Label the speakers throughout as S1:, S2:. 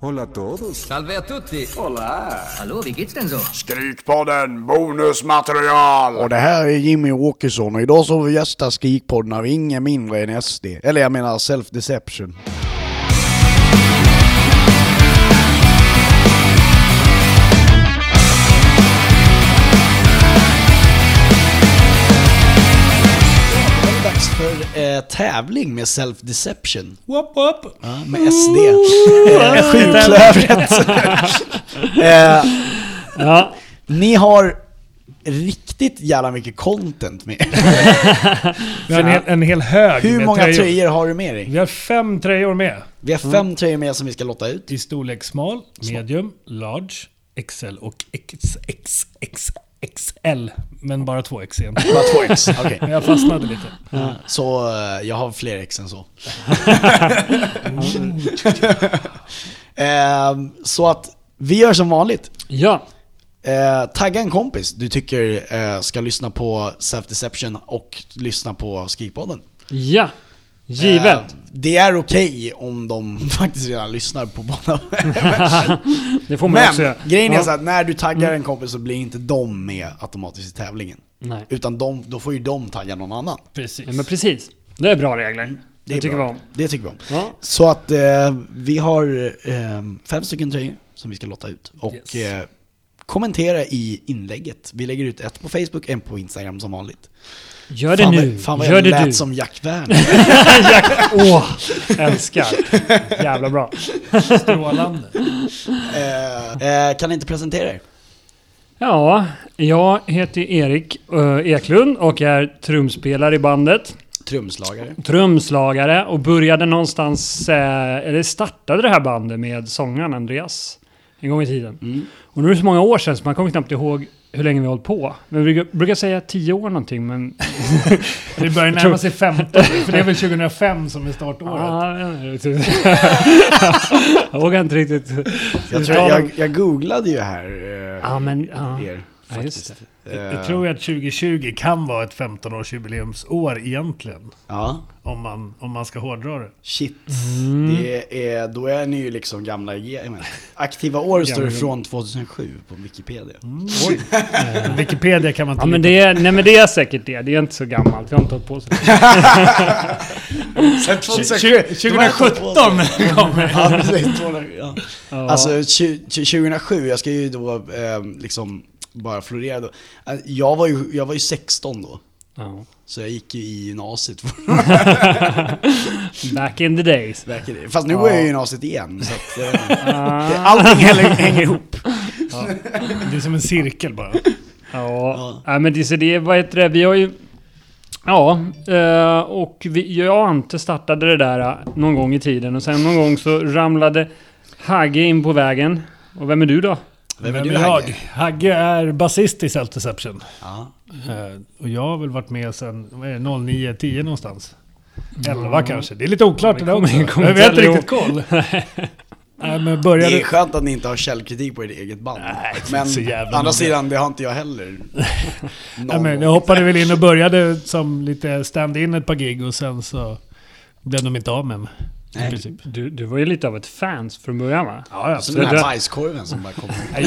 S1: Hola a todos.
S2: Salve a tutti!
S3: Hola!
S2: Hallå, wie geht's denn so?
S3: Skrikpodden bonusmaterial!
S4: Och det här är Jimmy Åkesson och idag så har vi gästat Skrikpodden av ingen mindre än SD. Eller jag menar Self Deception. Det är dags för eh, tävling med Self Deception.
S5: Wop, wop.
S4: Ja, med SD. Eh, Sjuklövret. eh,
S5: Ja,
S4: Ni har riktigt jävla mycket content med er.
S5: vi har en hel, en hel hög
S4: Hur
S5: med
S4: många
S5: tröjor.
S4: tröjor har du med dig?
S5: Vi har fem tröjor med.
S4: Vi har fem tröjor med som vi ska lotta ut.
S5: I storlek smal, medium, large, XL och XXXXL. Men bara två X igen.
S4: Bara två ex. Okej.
S5: Men jag fastnade lite.
S4: Så eh, jag har fler ex än så. Ehm, så att vi gör som vanligt.
S6: Ja,
S4: Eh, tagga en kompis du tycker eh, ska lyssna på Self Deception och lyssna på Skrikpodden.
S6: ja. Givet.
S4: Eh, det är okej om de faktiskt redan lyssnar på båda.
S6: det får man också
S4: Men
S6: göra.
S4: grejen är
S6: Ja. Mm.
S4: så att när du taggar en kompis så blir inte de med automatiskt i tävlingen.
S6: Nej.
S4: Utan de, då får ju de tagga någon annan.
S6: Ja, men precis. Det är bra regler. Det,
S4: är
S6: tycker
S4: bra.
S6: vi om.
S4: Det tycker vi om.
S6: Ja.
S4: Så att eh, vi har eh, fem stycken tröjor som vi ska lotta ut. Och
S5: Yes.
S4: eh, kommentera i inlägget. Vi lägger ut ett på Facebook, en på Instagram som vanligt.
S6: Gör det
S4: fan,
S6: nu.
S4: vad- fan vad
S6: Gör
S4: jag
S6: det
S4: lät
S6: du.
S4: som Jack Werner.
S6: Jack. Åh, älskar. Jävla bra.
S5: Strålande.
S4: eh, eh, kan ni inte presentera er?
S6: Ja, jag heter Erik eh, Eklund och är trumspelare i bandet.
S4: Trumslagare.
S6: Trumslagare och började någonstans, eh, eller startade det här bandet med sångaren Andreas. En gång i tiden. Och nu är det så många år sedan så man kommer knappt ihåg hur länge vi har hållit på. Men vi brukar- brukar säga tio år någonting men
S5: Vi börjar närma sig 15, för det är väl 2005 som är startåret.
S6: Ja, jag vet inte. Jag vågar inte riktigt.
S4: Jag, tror, jag, jag googlade ju här eh,
S6: Ja, men... Ja.
S4: er.
S6: Ja, just det.
S5: Jag tror att 2020 kan vara ett 15-årsjubileumsår egentligen.
S4: Ja.
S5: Om man, om man ska hårdra det.
S4: Shit. Det är, då är ni ju liksom gamla i gamet. Aktiva år står det från 2007 på Wikipedia.
S6: Mm. Eh,
S5: Wikipedia kan man inte
S6: Ja, men
S5: lita
S6: det är, nej, men det är säkert det. Det är inte så gammalt. Jag har inte hållit på så länge.
S4: Det var ett år sedan.
S5: kommer.
S4: Ja, precis. 2007, ja.
S6: Ja.
S4: Alltså tju- tju- 2007, jag ska ju då eh, liksom bara florera då. Eh, Jag var, ju, jag var ju 16 då,
S6: Ja.
S4: så jag gick ju i gymnasiet.
S6: Back in the days.
S4: verkar det. Fast nu går jag
S6: Ja.
S4: ju i gymnasiet igen. Så att, eh, jag vet inte.
S6: Ja.
S4: allting hänger, hänger ihop.
S5: Det är som en cirkel bara.
S6: Ja. Nej, men det, så det, vad heter det? Vi har ju... Ja, eh, och vi, jag och Ante startade det där eh, någon gång i tiden och sen någon gång så ramlade Hagge in på vägen. Och vem är du då?
S4: Vem är
S5: Vem
S4: du
S5: är jag?
S4: Hagge?
S5: Hagge är basist i Self Deception.
S4: Ja.
S5: Eh, Och jag har väl varit med sedan, vad är det, 09, 10 någonstans?
S4: Mm.
S5: 11 kanske. Det är lite oklart det där
S6: kommer-
S5: också.
S6: vi kommer
S5: Jag vet inte
S6: inte
S5: riktigt koll. Nej men
S4: Det
S5: började...
S4: är skönt att ni inte har källkritik på ert eget band. men
S5: så
S4: å
S5: jävla
S4: andra
S5: noga.
S4: sidan, det har inte jag heller.
S5: Nej,
S4: Någon
S5: men jag
S4: gång.
S5: hoppade väl in och började som lite stand-in ett par gig och sen så blev de inte av med mig. I princip.
S6: Du, du var ju lite av ett fans från början va?
S5: Ja, ja,
S4: Så
S5: absolut.
S4: Alltså, den här
S6: det-
S4: bajskorven som bara kommer.
S5: Jag,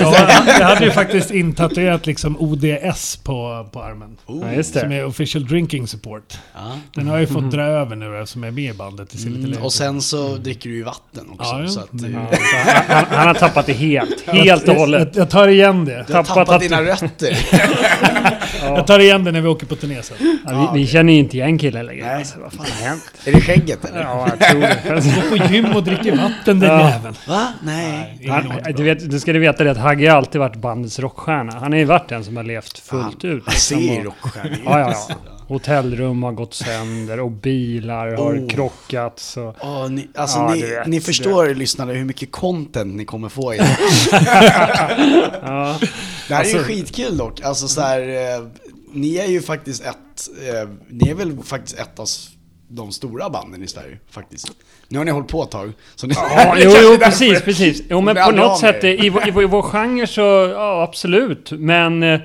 S5: jag hade ju faktiskt intatuerat liksom ODS på, på armen.
S6: Ja, just det. Mhm.
S5: Som är official drinking support.
S4: Ja. Mm.
S5: Den har jag ju fått dra över nu eftersom jag är med i bandet. Det ser lite lätt
S4: Och sen så dricker du ju vatten också.
S5: Mm. Ja, jo.
S4: så att eh, du,
S5: Men,
S4: du
S5: ja.
S6: Så Alltså, Han, han, han har tappat det helt, helt och hållet.
S5: Jag, jag tar igen det.
S4: har
S6: Tappat
S4: tappat
S6: att-
S4: dina rötter.
S5: Jag tar igen det när vi åker på turné sen.
S6: Ja, vi, vi känner ju inte igen killen längre.
S4: Nej.
S6: Alltså, vad fan har hänt?
S4: Är det skägget eller?
S6: Ja, jag tror det.
S5: Gå Alltså, på gym och dricker vatten den
S6: Ja.
S5: jäveln.
S4: Va? Nej.
S5: Ingen låter
S6: Han, du,
S5: bra.
S6: vet, du ska du veta det att Hagge har alltid varit bandets rockstjärna. Han har ju varit den som har levt fullt ut.
S4: Han
S6: liksom,
S4: ser
S6: och-
S4: rockstjärnor
S6: Ja, ja, ja. Hotellrum har gått sönder och bilar har
S4: Oh.
S6: krockat. Så.
S4: Åh, ni, alltså
S6: Ja,
S4: ni,
S6: du vet,
S4: ni
S6: du
S4: förstår lyssnare hur mycket content ni kommer få i det. Det här är ju skitkul dock. Alltså så här, eh, ni är ju faktiskt ett, eh, ni är väl faktiskt ett av s- de stora banden i Sverige faktiskt. Nu har ni hållit på ett tag. Så ni,
S6: Ja, jo, jo, precis, precis. Jo, men
S4: blir
S6: på
S4: aldrig av
S6: något sätt,
S4: med
S6: i, i, vår- i vår genre så, ja, absolut. Men eh,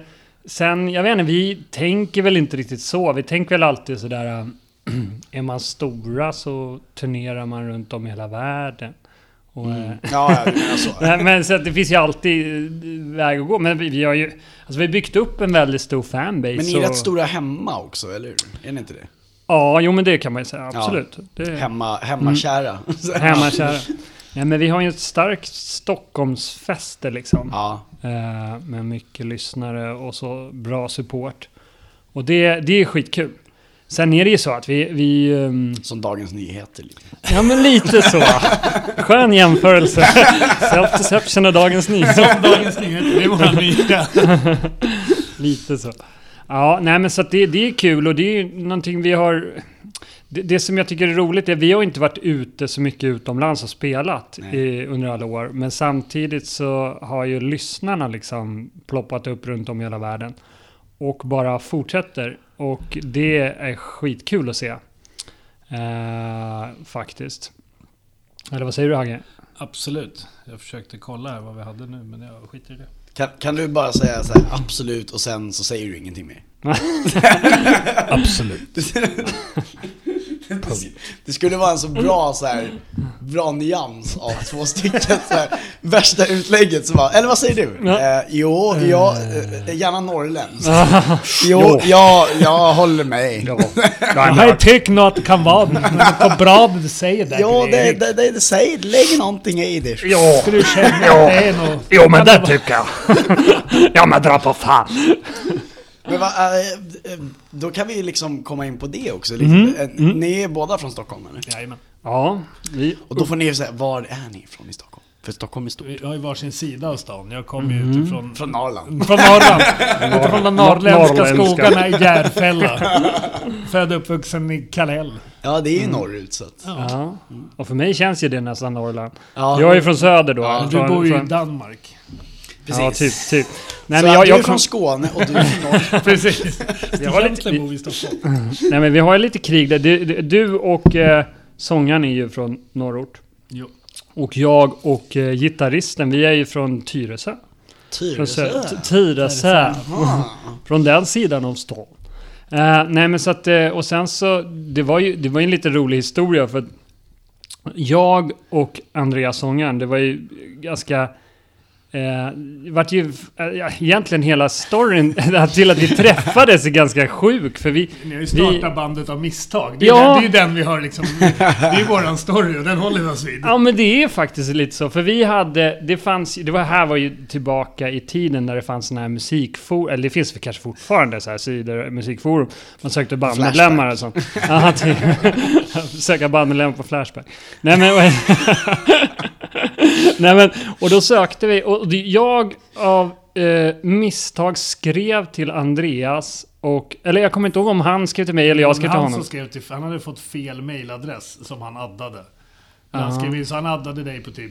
S6: sen, jag vet inte, vi tänker väl inte riktigt så. Vi tänker väl alltid sådär, eh, äh, är man stora så turnerar man runt om i hela världen. Och,
S4: Mm.
S6: eh,
S4: Ja, alltså. jag menar så.
S6: Nej, men så att det finns ju alltid eh, väg att gå. Men vi, vi har ju... Alltså vi har byggt upp en väldigt stor fanbase.
S4: Men ni är
S6: och-
S4: rätt stora hemma också, eller hur? Är ni inte det?
S6: Ja, jo men det kan man ju säga. Absolut. Det,
S4: Hemma, hemmakära.
S6: Mm. Hemmakära. Nej men vi har ju ett starkt Stockholmsfäste liksom.
S4: Ja.
S6: Eh, med mycket lyssnare och så bra support. Och det, det är skitkul. Sen är det ju så att vi... vi ehm,
S4: Som Dagens Nyheter. Liksom.
S6: ja men lite så. Skön jämförelse. Self-deception och Dagens Nyheter.
S5: Dagens Nyheter, det är våra nya.
S6: Lite så. Ja, nej men så att det, det är kul och det är ju någonting vi har... Det, det som jag tycker är roligt är att vi har inte varit ute så mycket utomlands och spelat i, under alla år. Men samtidigt så har ju lyssnarna liksom ploppat upp runt om i hela världen. Och bara fortsätter. Och det är skitkul att se. Eh, faktiskt. Eller vad säger du Hagge?
S5: Absolut. Jag försökte kolla här vad vi hade nu, men jag skiter i det.
S4: Kan, kan du bara säga så här, absolut och sen så säger du ingenting mer?
S5: Absolut.
S4: Det skulle vara en så bra så här, bra nyans av två stycken så här, värsta utlägget som var, eller vad säger du?
S6: Ja.
S4: Eh, jo, jag, eh, gärna norrländskt. jo, jag, jag håller med. Ja,
S5: Jag tycker något kan vara men vad bra du säger det.
S4: det, det, det, det säger, lägg någonting i det.
S5: Ja. Skulle du känna att det är något...
S6: Jo men det tycker jag. ja men dra på fan.
S4: Men va, eh, eh, då kan vi ju liksom komma in på det också. Lite. Eh, Ni är båda från Stockholm eller?
S5: Jajamän.
S6: Ja, vi,
S4: Och då får ni ju säga, var är ni ifrån i Stockholm? För Stockholm är stort.
S5: Vi har ju varsin sida av stan. Jag kommer ju
S6: Mhm.
S5: utifrån...
S4: Från Norrland.
S5: Från Norrland. Utifrån de norrländska
S6: Norrländska.
S5: skogarna i Järfälla. Född och uppvuxen i Kallhäll.
S4: Ja, det är ju norrut så att...
S6: Ja, och för mig känns ju det nästan Norrland.
S4: Ja.
S6: Jag är ju från söder då.
S5: Du
S6: från,
S5: bor ju i
S6: från,
S5: Danmark.
S6: Ja, typ, typ. Nej,
S4: så
S6: men jag,
S4: du är
S6: jag
S4: från
S6: kom,
S4: Skåne och du är från Norrland.
S5: Precis.
S6: Vi har lite-
S5: Egentligen bor vi i Stockholm.
S6: nej, men vi har ju lite krig där. Du, du- du och eh, sångaren är ju från norrort.
S5: Jo.
S6: Och jag och eh, gitarristen, vi är ju från Tyresö.
S4: Typ,
S6: Från sö-
S4: Ah.
S6: T- Tyresö. Från den sidan av stan. Eh, nej men så att, eh, och sen så, det var ju det var ju en lite rolig historia för att jag och Andreas sångaren, det var ju ganska... Eh, det vart ju, eh, ja, egentligen hela storyn till att vi träffades är ganska sjuk för vi...
S5: Ni har ju
S6: vi-
S5: startat bandet av misstag. Det är,
S6: Ja.
S5: den, det är ju den vi har liksom... Det är ju våran story och den håller vi oss vid.
S6: Ja men det är faktiskt lite så, för vi hade, det fanns ju- det var här var ju tillbaka i tiden när det fanns sådana här musikforum, eller det finns väl kanske fortfarande så här sidor, musikforum. Man sökte bandmedlemmar och sånt. Ja, typ. Söka bandmedlemmar på Flashback. Nej men, Nej, men och då sökte vi, och det- jag av eh, misstag skrev till Andreas och, eller jag kommer inte ihåg om han skrev till mig eller jag skrev till
S5: han
S6: honom.
S5: som skrev till, han hade fått fel mailadress som han addade. Men Han skrev in, så han addade dig på typ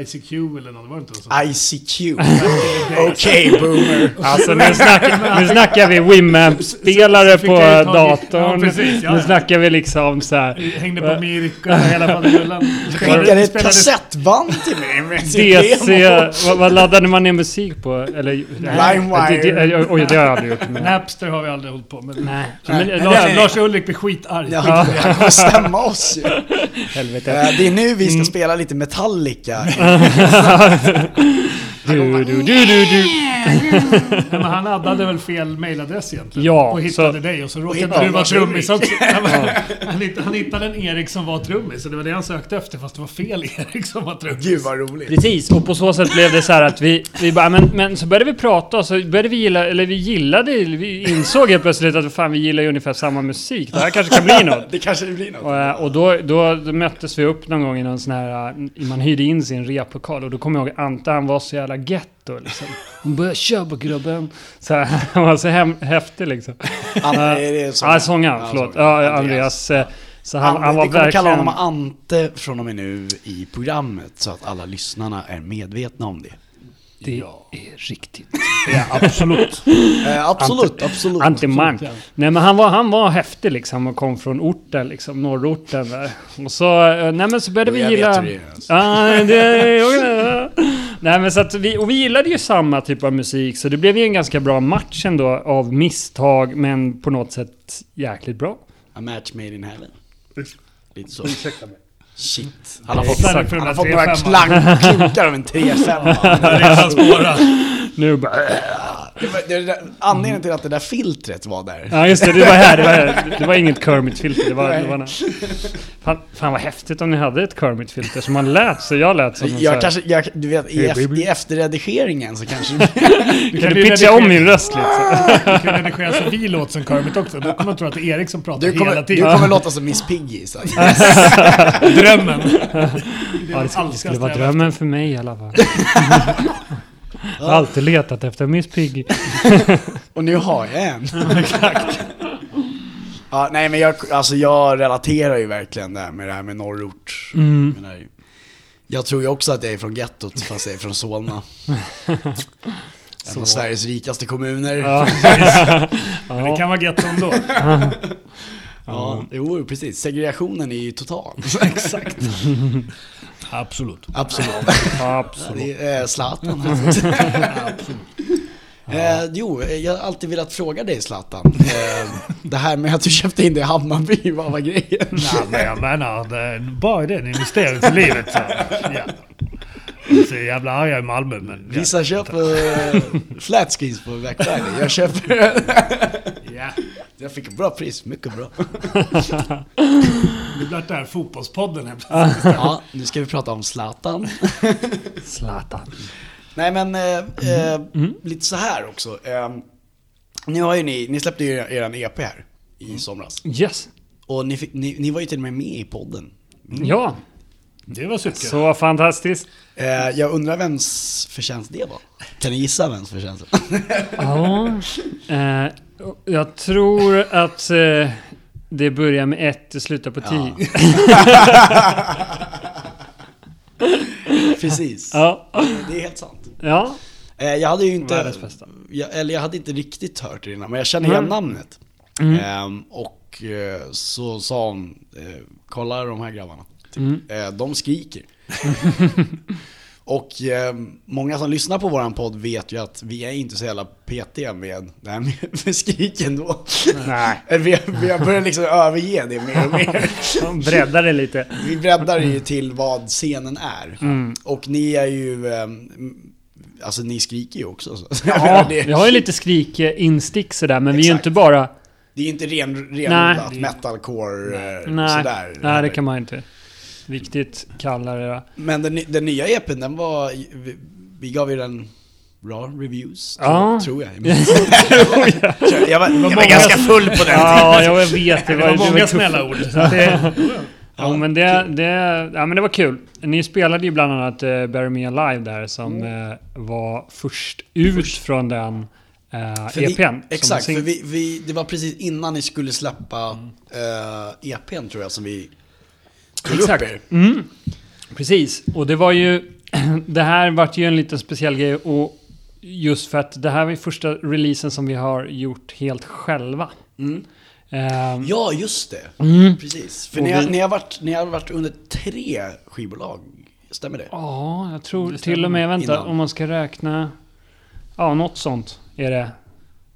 S5: ICQ eller något, var det inte så?
S4: ICQ. Ah. Okej, boomer.
S6: Alltså nu snackar, nu snackar vi Wimamp-spelare på
S5: Certifikat har vi-
S6: datorn.
S5: Ja, precis, ja, ja.
S6: Nu snackar vi liksom så här.
S5: Hängde på Mirka och hela faderullan.
S4: Skickade ett
S5: Spelade-
S4: kassettband till mig med sin
S6: DC,
S4: demo.
S6: vad, vad laddade man ner musik på? Eller...
S4: Limewire.
S6: Det- det- Oj, det har jag aldrig gjort. Men,
S5: Napster har vi aldrig hållit på med.
S6: nej. Men,
S5: Men
S6: Lars,
S5: Lars, Lars Ulrik blir skitarg.
S4: Ja, det här kommer stämma oss ju. Eh,
S6: helvete.
S4: Det är nu vi ska spela lite Metallica.
S6: Du, du, du, du, du.
S5: Nej, men han addade väl fel mailadress egentligen?
S6: Ja,
S5: och hittade
S6: så-
S5: dig och så
S4: Och
S5: råkade
S4: hittade
S5: du vara
S4: Lars
S5: trummis också. Han, han, hittade, han hittade en Erik som var trummis och det var det han sökte efter fast det var fel Erik som var trummis.
S4: Gud vad roligt.
S6: Precis, och på så sätt blev det så här att vi, vi bara, men, men så började vi prata och så började vi gilla, eller vi gillade, vi insåg helt plötsligt att fan vi gillar ju ungefär samma musik. Det här kanske kan bli något.
S4: Det kanske det blir något.
S6: Och, eh, och då, då, då möttes vi upp någon gång i någon sån här... eh, Man hyrde in sin replokal och då kommer jag ihåg Ante, han var så jävla getto liksom. Han började köpa grubben. Så här, han var så hem, häftig liksom.
S4: Ante, är det
S6: Ja, sångaren, förlåt. Ja, Andreas. eh, Så han, han var
S4: vi kommer kalla honom
S6: verkligen...
S4: Ante från och med nu i programmet så att alla lyssnarna är medvetna om det.
S6: Det är riktigt.
S4: Eh, absolut, absolut.
S6: Antiman. Nej men han var, han var häftig liksom och kom från orten liksom, norrorten där. Och så, eh, nej men så började
S4: Jo,
S6: vi
S4: jag
S6: gilla...
S4: vet hur det är, alltså.
S6: Ja, det, jag- nej men så att vi, och vi gillade ju samma typ av musik så det blev ju en ganska bra match ändå av misstag men på något sätt jäkligt bra.
S4: A match made in heaven. Lite så. Shit. Han har
S6: Nej,
S4: fått,
S6: exakt.
S4: han har fått några
S5: 3-5.
S4: klang, klunkar av en 3-5.
S5: Redan spåra.
S6: Nu bara...
S4: Det var- det var- Anledningen till att det där filtret var där.
S6: Ja just det, det var här. Det var, här. Det var inget Kermit-filter. Det var,
S4: Nej.
S6: det var fan, fan vad häftigt om ni hade ett Kermit-filter som man lät så jag lät som en så här-
S4: Jag kanske, jag, du vet, i,
S6: Hey,
S4: ef-
S6: baby.
S4: i efterredigeringen så kanske...
S6: Du kan
S5: ju
S6: du pitcha om
S5: redigera-
S6: min röst lite.
S5: Du kan redigera så vi låter som Kermit också. Då kommer man tro att det är Erik som pratar
S4: Du kommer,
S5: hela
S4: du
S5: tiden.
S4: kommer låta som Miss Piggy. Så.
S5: Drömmen.
S6: Ja, det, skulle, det skulle
S5: alltid
S6: vara
S5: jag
S6: drömmen för mig i alla fall. Jag har alltid letat efter Miss Piggy.
S4: Och nu har jag en. ja, nej men jag, alltså jag relaterar ju verkligen det här med det här med norrort.
S5: Mm.
S4: Jag menar ju- Jag tror ju också att jag är från gettot fast jag är från Solna. En av Sveriges rikaste kommuner. Ja,
S6: Ja.
S5: Men det
S6: Ja.
S5: kan vara gett ändå.
S4: jo precis. Segregationen är ju total.
S5: Exakt. Absolut.
S4: Absolut.
S6: Absolut.
S4: Det är eh, Zlatan. Eh, jo, eh, jag har alltid velat fråga dig Zlatan. Eh, det här med att du köpte in dig i Hammarby, vad var grejen?
S5: Nej, men jag menar, det är en bra idé. Det är en investering för livet. Så. Ja. Så jävla arga i Malmö, men... Ja.
S4: Vissa köper eh, flat screens på Blackfriday. Jag köper...
S5: Ja.
S4: jag fick ett bra pris, mycket bra.
S5: Det blev det här fotbollspodden helt
S6: Ah.
S4: Ja, nu ska vi prata om Zlatan.
S6: Zlatan.
S4: Nej men, eh, eh,
S5: Mm.
S4: lite så här också. Eh, nu har ju ni, ni släppte ju er EP här
S5: Mm.
S4: i somras.
S6: Yes.
S4: Och ni, fick, ni, ni var ju till och med med i podden.
S6: Ja,
S5: Det var sucker.
S6: så fantastiskt.
S4: Eh, jag undrar vems förtjänst det var? Kan ni gissa vems förtjänst?
S6: Ja. Eh, jag tror att eh, det börjar med ett, det slutar på tio. Ja.
S4: Precis,
S6: Ja.
S4: det är helt sant.
S6: ja.
S4: Eh, jag hade ju inte,
S6: Världens bästa.
S4: jag, eller jag hade inte riktigt hört det innan, men jag känner
S6: Mm.
S4: igen namnet. Ehm, och eh, så sa hon, eh, kolla de här grabbarna. Typ.
S6: Mm.
S4: Eh, de skriker. och ehm, många som lyssnar på våran podd vet ju att vi är inte så jävla petiga med det här med, med skrik ändå.
S6: Nej.
S4: Eller vi, vi har börjat liksom överge det mer och mer.
S6: Bredda det lite.
S4: Vi breddar det ju till vad scenen är.
S6: Mm.
S4: Och ni är ju, ehm, alltså ni skriker ju också. Så. Jag menar,
S6: Ja,
S4: det-
S6: vi har ju lite skrikinstick sådär, men vi är ju
S4: Exakt.
S6: inte bara...
S4: Det är inte ren, renodlat
S6: Nej.
S4: metalcore eh,
S6: Nej,
S4: sådär.
S6: nej det kan man ju inte riktigt kalla det. där.
S4: Men den, ny- den nya EPn, den var... Vi, vi gav ju den bra reviews,
S6: Ja.
S4: tror, jag. tror jag. jag var, jag var ganska
S6: E
S4: full på den
S6: Ja, jag vet. Det
S5: Det
S6: var,
S5: var
S6: det
S5: många
S6: tufft.
S5: snälla ord. Så att det,
S6: Ja, men det, det, ja, men det var kul. Ni spelade ju bland annat eh, Bury Me Alive där som
S4: Mm.
S6: eh, var först ut från den eh,
S4: För vi-
S6: EPn. som
S4: Exakt,
S6: sing-
S4: för vi, vi, det var precis innan ni skulle släppa eh, EPn tror jag som vi tog
S6: Exakt.
S4: upp er.
S6: Precis, och det var ju... Det här vart ju en liten speciell grej och just för att det här var ju första releasen som vi har gjort helt själva.
S4: Mm.
S6: Ehm,
S4: Ja, just det. Precis. För
S6: Mm. Och
S4: ni, har-
S6: vi-
S4: ni, har varit, ni har varit under tre skivbolag, stämmer det?
S6: Ja, jag tror till och med, vänta,
S4: Innan.
S6: om man ska räkna... Ja, något sånt är det.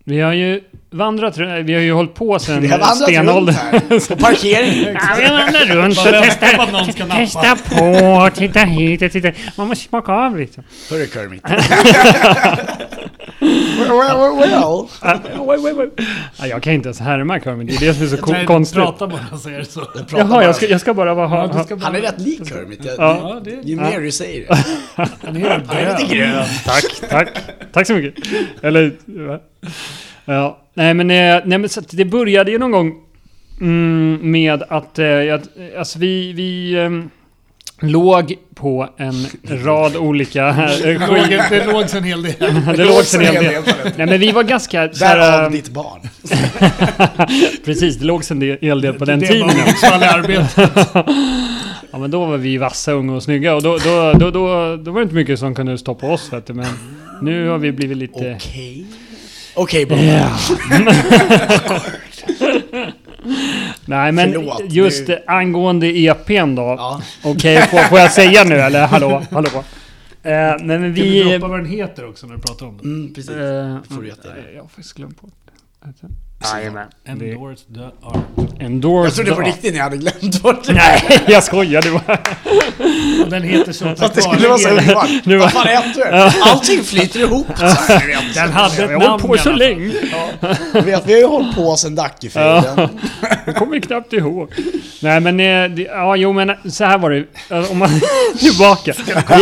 S6: Vi har ju vandrat runt, vi har ju hållit på
S4: Vi har
S6: sedan
S4: vandrat runt
S6: stenåldern.
S4: här, på parkeringen.
S6: Ja, vi vandrar runt och
S5: Bara väntar på
S6: testar,
S5: att någon ska nappa.
S6: testar på, och titta hit och titta Man måste smaka av liksom.
S4: Hörru Kermit. well, well, well,
S6: Ja, jag kan inte ens härma Kermit, det är det som är så ko-
S5: nej,
S6: konstigt.
S5: prata bara så är det så.
S4: Prata
S6: Jaha,
S4: bara.
S6: jag ska, jag ska bara vara... Ha,
S5: Ja, du
S6: ha.
S5: ska bara-
S4: Han är rätt lik Kermit. Jag,
S6: Ja.
S5: Ja, det,
S4: Ju mer du säger det.
S5: han är helt död.
S4: grön.
S6: Tack, tack. Tack så mycket. Eller... va? Ja. Nej men, eh, nej, men så att det började ju någon gång mm, med att... eh, jag- Alltså vi... vi ehm, Låg på en rad olika eh,
S5: Det låg-
S6: skivor.
S5: Det låg en hel del.
S6: Det låg en hel del. Nej men vi var ganska så här,
S4: Därav
S6: eh,
S4: ditt barn.
S6: Precis, det låg en del- hel del på den
S5: det
S6: tiden.
S5: var olycksfall i arbetet.
S6: Ja men då var vi vassa, unga och snygga och då, då, då, då, då var det inte mycket som kunde stoppa oss vet du, men nu har vi blivit lite...
S4: Okej. Okej, bra.
S6: Nej men
S4: Förlåt,
S6: just
S4: nu-
S6: eh, angående EPn då.
S4: Ja.
S6: Okej, får, får jag säga nu eller? Hallå, hallå? Eh, nej men
S5: Kan du
S6: vi...
S5: droppa vad den heter också när du pratar om den?
S4: Mm, precis.
S6: eh,
S4: får du jättegärna.
S6: jag har faktiskt glömt bort. det. Jajamän. Det-
S5: Endorse the art.
S6: Endorse
S4: Jag trodde
S6: the
S4: på
S6: art.
S4: riktigt ni hade glömt bort det.
S6: Nej, jag skojade bara.
S5: Och den heter så
S4: Så att det
S5: tack
S4: skulle vara så
S5: vare er.
S4: uppenbart.
S6: Nu
S4: Vad
S6: var-
S4: fan äter du? Allting flyter ihop. Så här, ni vet.
S5: Den hade
S6: Jag
S5: ett
S6: har hållit
S5: namn
S6: på så
S5: i alla fall.
S6: länge.
S4: Du vet, vi har ju hållit på sen Dackefejden.
S6: Jag kommer knappt ihåg. Nej men, eh, det- ja jo men så här var det. Alltså, Om man... Tillbaka. Vi, vi,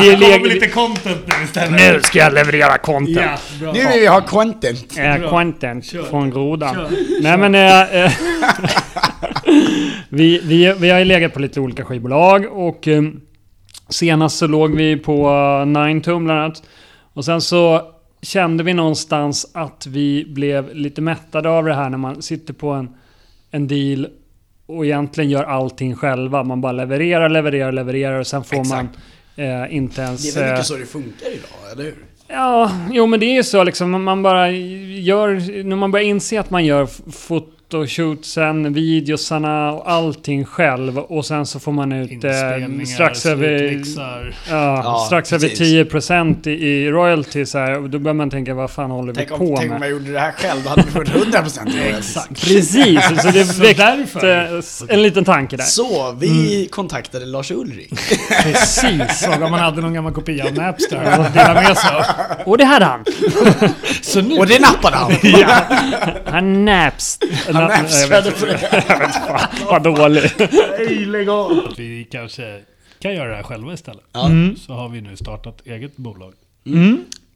S6: vi,
S5: Det kommer
S6: vi,
S5: lite content nu istället.
S6: nu ska jag leverera content.
S5: Ja, bra.
S4: Nu vill vi ha content.
S6: Eh,
S5: Bra.
S6: content
S5: Kör.
S6: från grodan.
S5: Kör.
S6: Nej men... Eh, eh, vi, vi, vi har ju legat på lite olika skivbolag och eh, senast så låg vi på eh, Nine Tum bland annat. Och sen så kände vi någonstans att vi blev lite mättade av det här när man sitter på en, en deal och egentligen gör allting själva. Man bara levererar, levererar, levererar och sen får man eh, inte ens...
S4: Det är väl
S6: eh,
S4: mycket så det funkar idag, eller hur?
S6: Ja, jo men det är ju så liksom. Man- Man bara gör, när man börjar inse att man gör f- fotoshootsen, videosarna och allting själv. Och sen så får man ut eh,
S5: Inspelningar,
S6: strax över,
S5: slutmixar.
S6: ja,
S4: Ja,
S6: strax över
S4: precis.
S6: 10% i, i royalties här. Och då börjar man tänka, vad fan håller
S4: Tänk
S6: vi
S4: om,
S6: på
S4: tänk
S6: med?
S4: om jag gjorde det här själv, då hade vi fått 100% royalties.
S6: Precis, så det
S5: Så
S6: väckte
S5: därför.
S6: s- en liten tanke där.
S4: Så, vi kontaktade Lars Ulrik.
S6: Precis.
S5: Fråga om man hade någon gammal kopia av Napster att dela med sig av.
S6: Och det hade han.
S5: Så nu...
S4: Och det nappade han.
S6: Han naps...
S4: Han napsade på det.
S6: Vad dålig.
S5: Vi kanske kan göra det här själva istället.
S4: Ja.
S6: Mm.
S5: Så har vi nu startat eget bolag.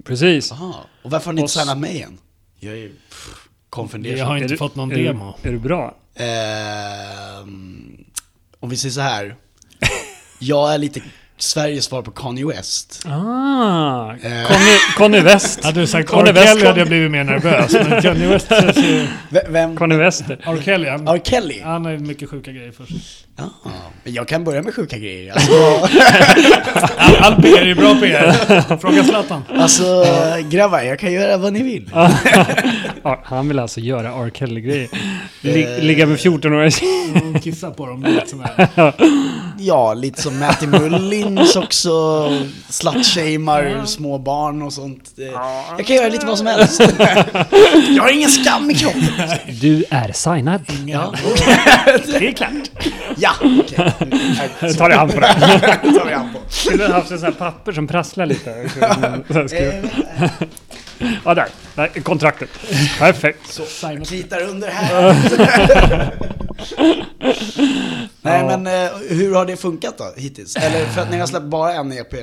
S6: Precis.
S4: Aha. Och varför har ni inte signat mig än? Jag är pff,
S5: Vi
S4: konfunderad.
S5: har
S6: Är
S5: inte
S6: du-
S5: fått någon
S6: är du-
S5: demo.
S6: Är du bra?
S4: Ehm, om vi säger så här. Jag är lite Sveriges svar på Kanye West.
S6: Ah, Conny, Conny West.
S5: Hade du sagt
S6: Conny
S5: R.
S6: West
S5: Kelly
S6: kom-
S5: hade jag blivit mer nervös. Men Kanye West känns ju...
S4: V- vem?
S6: Conny Wester.
S5: R. Kelly, han,
S4: R. Kelly?
S5: han har ju mycket sjuka grejer för sig.
S4: Ja. Men jag kan börja med sjuka grejer. Alltså,
S5: Allt PR är ju bra PR. Fråga Zlatan.
S4: alltså grabbar, jag kan göra vad ni vill.
S6: Ja, han vill alltså göra R. Kelly-grejer. Lig- Ligga med 14-åriga tjejer.
S5: Mm, Kissa på dem. lite sån här.
S4: Ja, lite som Matty Mullins också. Slutshamar små barn och sånt. Eh, Jag kan göra lite vad som helst. Jag har ingen skam i kroppen.
S6: Du är signad.
S4: Ja,
S6: Det är klart.
S4: ja okej. Okay.
S6: Ta dig an på det.
S4: tar vi an på.
S6: Skulle ha haft en sån här papper som prasslar lite. Så här
S4: Eh.
S6: skriver- Ja, där. där. är Kontraktet. Perfekt.
S5: Sign-
S4: Kritar under här. Nej men eh, hur har det funkat då hittills? Eller för att ni har släppt bara en EP?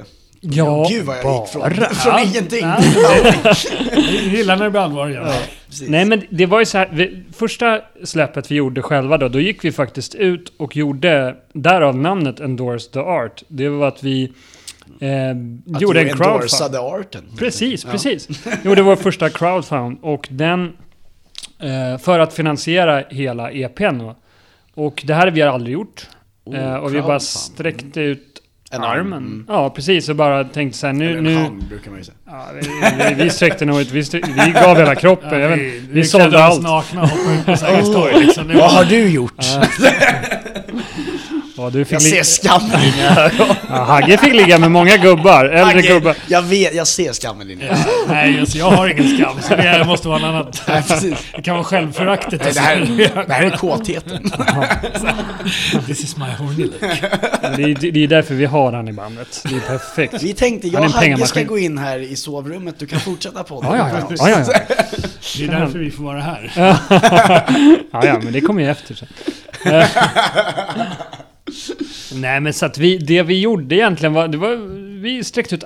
S6: Ja,
S4: Gud vad jag gick
S6: bara.
S4: från, från ingenting.
S5: Jag gillar när det blir allvar igen.
S4: Precis.
S6: Nej men det var ju så här, vi, första släppet vi gjorde själva då, då gick vi faktiskt ut och gjorde, därav namnet Endorse the Art. Det var att vi eh,
S4: Att
S6: gjorde
S4: du
S6: en crowdfund.
S4: endorsade arten.
S6: Precis, precis. Jo, det var första crowdfund och den... Eh, för att finansiera hela EPn då. Och det här har vi aldrig gjort. eh, och vi bara
S4: Oh, crowdfund.
S6: sträckte ut
S4: En arm, Mm.
S6: armen. Ja, precis. Och bara tänkte så här, nu...
S4: Eller en
S6: nu
S4: hand brukar man ju säga.
S6: ja, vi, vi, vi sträckte nog ut, vi, st- vi gav hela kroppen. jag vet, vi, vi sålde
S5: klädde oss
S6: allt.
S5: nakna och hoppade ut på Sergels torg. Liksom. Det
S4: Vad
S5: var-
S4: har du gjort?
S6: Ja, du fick
S4: Jag ser
S6: li-
S4: skammen i dina ögon.
S6: ja, Hagge fick ligga med många gubbar, äldre gubbar.
S4: Agge, Jag vet, jag ser skammen i dina ögon.
S5: Nej, alltså, jag har ingen skam. Så det här måste vara något annat.
S4: Nej, precis.
S5: Det kan vara självföraktet.
S4: Nej, det, här, det här är kåtheten.
S5: This is my horny look.
S6: Det är, det är därför vi har han i bandet. Det är perfekt.
S4: Vi tänkte, jag
S6: Han är
S4: och
S6: en
S4: Hagge ska
S6: pengamaskin.
S4: gå in här i sovrummet, du kan fortsätta podden.
S6: Ja, ja, ja. ja, ja, ja.
S5: Det är därför vi får vara här.
S6: Eh, Ja, ja, men det kommer ju efter sen. Eh, Nej, men så att vi, det vi gjorde egentligen var, det var, vi sträckte ut...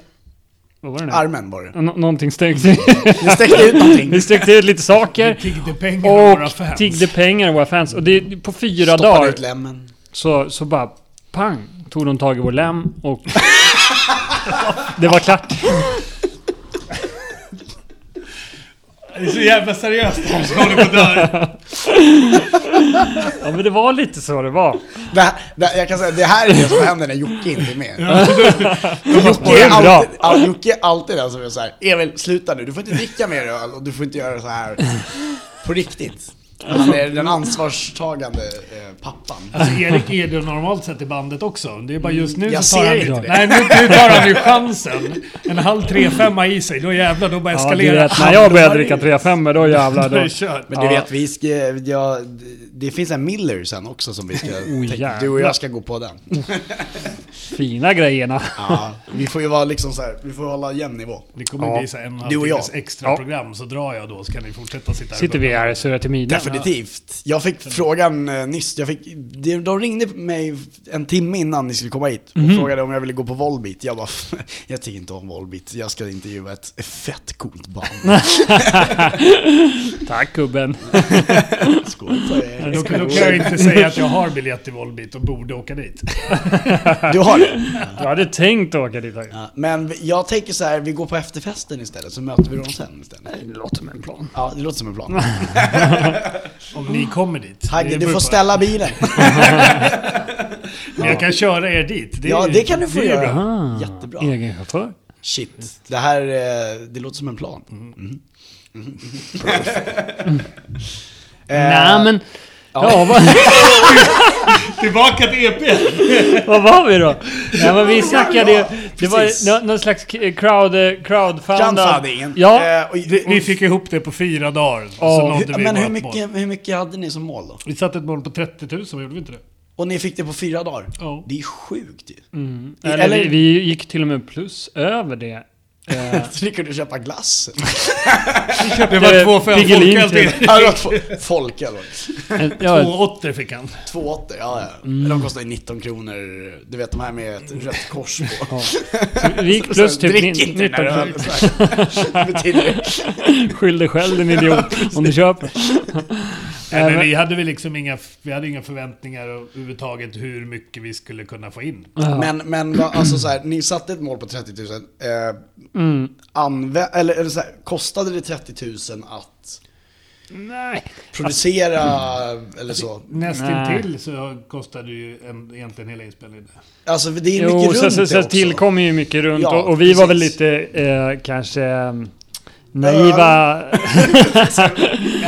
S6: Vad var det nu?
S4: Armen var det.
S6: Nå- någonting sträckte
S4: Ni sträckte ut någonting.
S6: Vi sträckte ut lite saker.
S5: Tiggde pengar av våra
S6: Och
S5: fans.
S6: tiggde pengar av våra fans. Och det, på fyra
S4: Stoppade
S6: dagar
S4: ut lämmen.
S6: så, så bara pang tog de tag i vår lem och... det var klart.
S5: Det är så jävla seriöst det här som håller på att dö.
S6: Ja, men det var lite så det var.
S4: Det här, det, här- jag kan säga, det här är det som händer när Jocke inte är med.
S6: det
S4: Jocke
S6: är
S4: är
S6: bra.
S4: alltid, all, Jocke är alltid den som är såhär, Emil sluta nu, du får inte dricka mer öl och du får inte göra så här. På riktigt. Han är den ansvarstagande eh, pappan.
S5: Alltså Erik är det normalt sett i bandet också. Det är bara just nu
S4: Jag
S5: så tar
S4: ser
S5: han,
S4: inte det.
S5: Nej, nu, nu tar han ju chansen. En halv 3-5 i sig, då jävlar, då bara
S6: Ja, du vet,
S5: eskalerar
S6: när jag börjar dricka 3-5 då jävlar.
S5: Då är
S6: Då.
S5: det kört.
S4: Men du
S6: Ja.
S4: vet, vi ska, ja, det finns en Miller sen också som vi ska...
S6: Oh, jävlar. Oh.
S4: du och jag ska gå på den.
S6: Fina grejerna.
S4: Ja, vi får ju vara liksom så här, vi får hålla jämn nivå.
S5: Det kommer
S6: Ja.
S5: bli så här en och en
S4: Du
S5: halv
S4: och jag.
S5: timmes extra
S6: Ja.
S5: program, så drar jag då så kan ni fortsätta sitta här.
S6: Sitter vi här och surrar till midnatt.
S4: Definitivt. Jag fick frågan eh, nyss, jag fick, de de ringde mig en timme innan ni skulle komma hit och
S5: Mhm.
S4: frågade om jag ville gå på Volbeat. Jag bara, jag tycker inte om Volbeat, jag ska intervjua ett fett coolt band.
S6: Tack gubben.
S4: Skål för er.
S5: Då, då kan jag inte säga att jag har biljett till Volbeat och borde åka dit.
S4: Du har det?
S6: Jag hade tänkt åka dit. Ja.
S4: Ja, Men jag tänker så här, vi går på efterfesten istället, så möter vi dem sen istället.
S6: Det låter som en plan.
S4: Ja, det låter som en plan.
S5: Om ni kommer dit. Det
S4: Hagge,
S5: beror
S4: du får
S5: på-
S4: ställa bilen.
S5: Men jag kan köra er dit. Det är
S4: Ja,
S5: ju-
S4: det kan du få
S5: är ju bra.
S4: göra.
S6: Ah,
S4: Jättebra.
S6: Egen
S4: Eh,
S6: chaufför.
S4: Shit, det här, eh, det låter som en plan. Mm. Mm. Eh,
S6: Nej men... Ja, vad,
S5: Tillbaka till E EP!
S6: vad var vi då? Nej, men vi snackade ju... Det var nå- någon slags k- crowd, eh, crowdfunding.
S4: Crowdfunding.
S6: Ja,
S4: Eh, och-
S5: Vi fick ihop det på fyra dagar.
S6: Ja.
S5: så nådde
S4: hur,
S5: vi
S4: men hur
S5: vårt mål.
S4: mycket, hur mycket hade ni som mål då?
S5: Vi satte ett mål på 30 000, gjorde vi inte det?
S4: Och ni fick det på fyra dagar?
S5: Ja.
S4: Det är sjukt ju.
S6: Mm. eller,
S4: eller-
S6: Vi, vi gick till och med plus över det. Eh,
S4: Så ni kunde köpa glass.
S5: Det
S6: var två för en Piggelin folköl till.
S5: till.
S6: till.
S4: Ja, det var två- folk eller
S6: ja,
S5: Två åttor fick han.
S4: Två åter, ja ja. De kostar ju 19 kronor, du vet de här med ett rött kors på.
S6: vi gick plus
S4: Så,
S6: typ
S4: Drick
S6: 19
S4: inte den här
S6: kronor.
S4: ölen, så här. Det betyder-
S6: Skyll dig själv din idiot om du köper.
S5: Nej, men
S6: men-
S5: vi hade väl liksom inga, vi hade inga förväntningar överhuvudtaget hur mycket vi skulle kunna få in.
S4: Men, men vad- alltså så här, ni satte ett mål på 30 000. Eh, anvä- eller, eller så här, kostade det 30 000 att
S6: Nej.
S4: producera eller så?
S5: Nästintill så kostade ju en, egentligen hela inspelningen.
S4: Alltså för det är
S6: Jo,
S4: mycket
S6: så,
S4: runt
S6: så,
S4: det
S6: så
S4: också.
S6: tillkommer ju mycket runt
S4: Ja,
S6: och, och vi var väl
S4: precis.
S6: lite eh, kanske eh, naiva.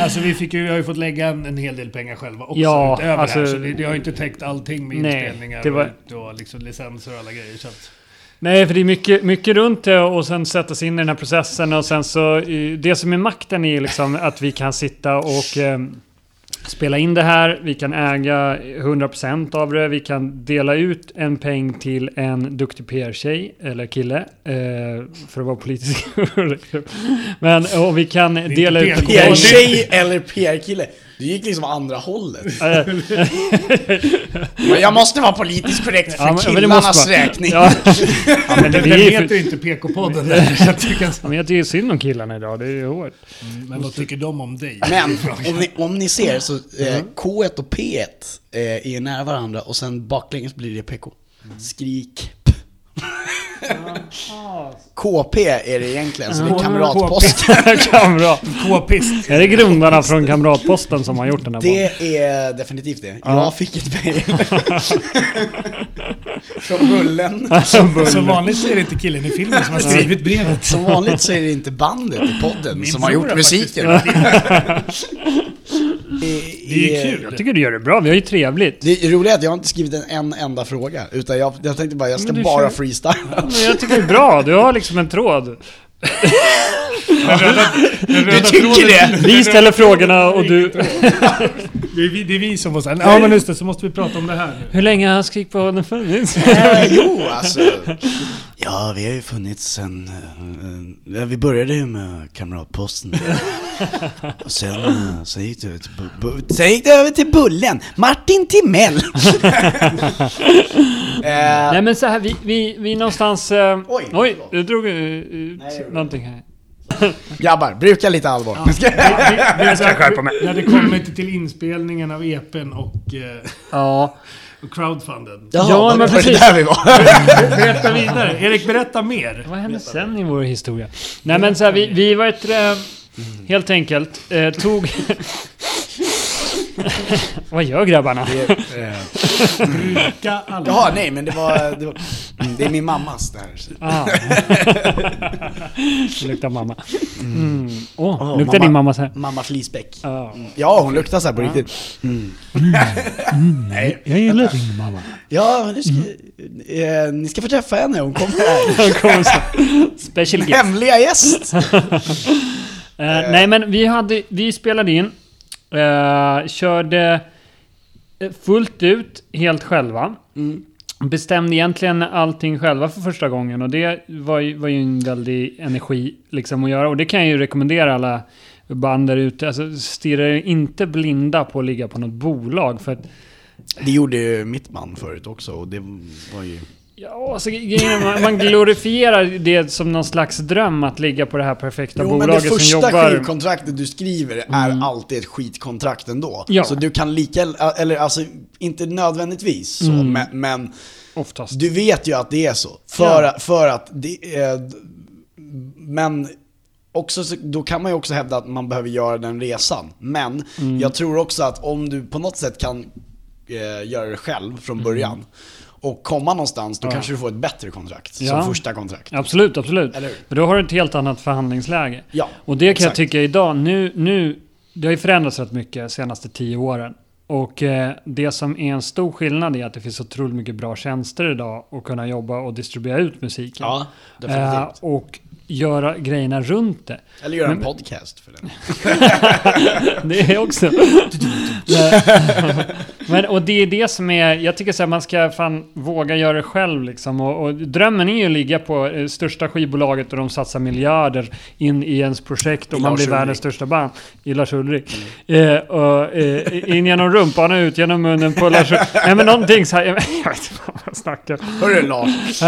S5: Alltså vi, fick ju, vi har ju fått lägga en, en hel del pengar själva också
S6: Ja,
S5: utöver det här.
S6: alltså-
S5: Så det, det har ju inte täckt allting med
S6: Nej,
S5: inspelningar
S6: det var-
S5: och, och liksom licenser och alla grejer. Så att,
S6: Nej, för det är mycket, mycket runt det och sen sätta sig in i den här processen och sen så... eh, Det som är makten är liksom att vi kan sitta och... Eh, Spela in det här, vi kan äga 100% av det, vi kan dela ut en peng till en duktig PR-tjej eller kille. Eh, för att vara politisk. Men och vi kan
S5: inte
S6: dela ut...
S5: PR-tjej.
S4: PR-tjej eller PR-kille? Du gick liksom andra hållet.
S6: Eh,
S4: Men jag måste vara politiskt korrekt för
S6: Ja, men- men det
S4: killarnas
S6: måste vara-
S4: räkning.
S6: Ja. ja, men det,
S5: den
S6: vi är ju
S5: heter
S6: för,
S5: ju inte PK-podden där, så att vi kan,
S6: ja, men jag tycker synd om killarna idag, det är ju hårt.
S5: Men vad tycker de om dig?
S4: Men om ni, om ni ser så
S6: Mm.
S4: eh, K1 och P1 eh, är ju nära varandra och sen baklänges blir det PK.
S6: Mm.
S4: Skrik. p. KP är det egentligen, så det är kamratposten.
S6: Kamrat.
S5: K-pist.
S6: Är det grundarna från Kamratposten som har gjort den här det...
S4: Det är definitivt det. Jag fick ett mejl. Från Bullen.
S5: Som vanligt så är det inte killen i filmen som har skrivit brevet.
S4: Som vanligt så är det inte bandet i podden som har
S5: bror
S4: gjort
S5: har
S4: musiken.
S5: Det är kul.
S6: Jag tycker du gör det bra, vi har ju trevligt.
S4: Eh, Det roliga är att jag har inte skrivit en, en enda fråga, utan jag, jag tänkte bara jag ska
S6: Men du
S4: bara
S6: kör-
S4: freestyla.
S6: Men jag tycker det är bra, du har liksom en tråd.
S5: Du
S4: tycker det?
S6: Vi ställer frågorna och du...
S5: Det är vi, det är vi som måste... Ja men just det, så måste vi prata om det här nu.
S6: Hur länge har Skrikpodden funnits?
S4: Eh, jo, alltså. Ja, vi har ju funnits sen... eh, eh, vi började ju med Kamratposten. Och sen, eh, sen, gick det över till bu- bu- sen gick det över till Bullen, Martin Timell. eh,
S6: Nej men så här, vi, vi, vi någonstans... Eh,
S4: Oj,
S6: oj! Oj,
S4: förlåt.
S6: du drog eh, ut
S4: Nej, det gjorde
S6: någonting här.
S4: grabbar, bruka lite allvar.
S5: Jag ska skärpa mig. När det kommit till inspelningen av EPn och, eh,
S6: Ja.
S5: och crowdfunden.
S4: Jaha,
S6: Ja,
S4: var
S6: men
S4: det- var det
S6: precis.
S4: där vi var.
S5: Berätta vidare. Erik, berätta mer.
S6: Vad hände sen i vår historia? Nej men så här, vi, vi var ett... Eh, helt enkelt, eh, tog... Vad gör grabbarna?
S5: Bruka alla.
S4: Jaha, nej men det var... Det, var, Mm, det är min mammas det här.
S6: Ah. Det luktar mamma. Mm. Åh,
S4: Åh,
S6: luktar din mamma så här?
S4: Mamma Flisbäck.
S6: Ja.
S4: Ja, Mm. hon luktar så här på riktigt.
S6: Mm.
S1: Jag gillar din mamma.
S4: Ja, men nu ska, eh, ni ska få träffa henne, hon kommer här.
S6: Då kommer så här, Special guest.
S4: Hemliga gäst!
S6: Eh, nej men vi, hade, vi spelade in, eh, körde eh, fullt ut helt själva.
S4: Mm.
S6: Bestämde egentligen allting själva för första gången och det var ju, var ju en väldig energi liksom att göra. Och det kan jag ju rekommendera alla band där ute. Alltså stirra er inte blinda på att ligga på något bolag. För att
S4: Det gjorde ju mitt man förut också och det var ju...
S6: Ja, alltså, grejen är, man, man glorifierar det som någon slags dröm att ligga på det här perfekta
S4: Jo, men det
S6: bolaget som
S4: första
S6: jobbar... Mm.
S4: skivkontraktet du skriver är alltid ett skitkontrakt ändå.
S6: Ja.
S4: Så du kan lika, eller alltså inte nödvändigtvis så,
S6: Mm.
S4: men, men
S6: Oftast.
S4: du vet ju att det är så. För,
S6: Ja.
S4: för att det är, Men också, så- då kan man ju också hävda att man behöver göra den resan. Men
S6: Mm.
S4: jag tror också att om du på något sätt kan eh, göra det själv
S6: Mm.
S4: från början och komma någonstans, då kanske du får ett bättre kontrakt
S6: Ja.
S4: som första kontrakt.
S6: Absolut, absolut.
S4: Eller hur?
S6: För då har du ett helt annat förhandlingsläge.
S4: Ja,
S6: och det kan jag
S4: exakt.
S6: tycka idag, nu, nu... Det har ju förändrats rätt mycket de senaste tio åren. Och eh, det som är en stor skillnad är att det finns otroligt mycket bra tjänster idag att kunna jobba och distribuera ut musiken.
S4: Ja, definitivt.
S6: eh, och göra grejerna runt det.
S4: Eller göra en podcast för den.
S6: Det är jag också. Nej. Men, och det är det som är, jag tycker så här, man ska fan våga göra det själv liksom. Och, och drömmen är ju att ligga på eh, största skivbolaget och de satsar miljarder in i ens projekt och man
S4: Lars
S6: blir
S4: Ulrik. Mm.
S6: världens största band. I Lars Ulrik. Eh, och, eh, in genom rumpan och ut genom munnen på Lars Ulrik. Nej men någonting så här, jag vet inte vad jag snackar.
S4: Hörru Lars,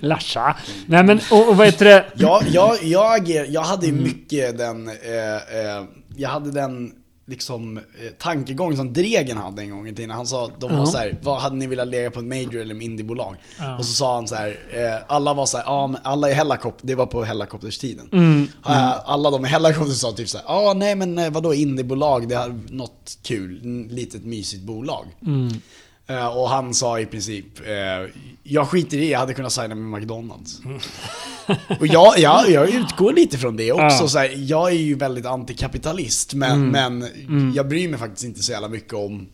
S6: Larsa. Nej men, och, och vad heter det?
S4: jag, jag, jag, ager- jag hade ju mycket den, eh, eh, jag hade den liksom eh, tankegång som Dregen hade en gång i tiden. Han sa att de var
S6: Ja.
S4: så här, vad hade ni velat lägga på ett major eller ett indiebolag? Och så sa han så här, eh, alla var så här, ja men alla i Hellacopter, det var på Hellacopters-tiden. Eh, alla de i Hellacopter sa typ så här, ja nej men eh, vadå indiebolag, det är något kul, n- litet mysigt bolag. Eh, Och han sa i princip, eh, jag skiter i, jag hade kunnat signa med McDonalds. Och jag, jag, jag utgår lite från det också.
S6: Ja.
S4: Så här, jag är ju väldigt antikapitalist, men, men jag bryr mig faktiskt inte så jävla mycket om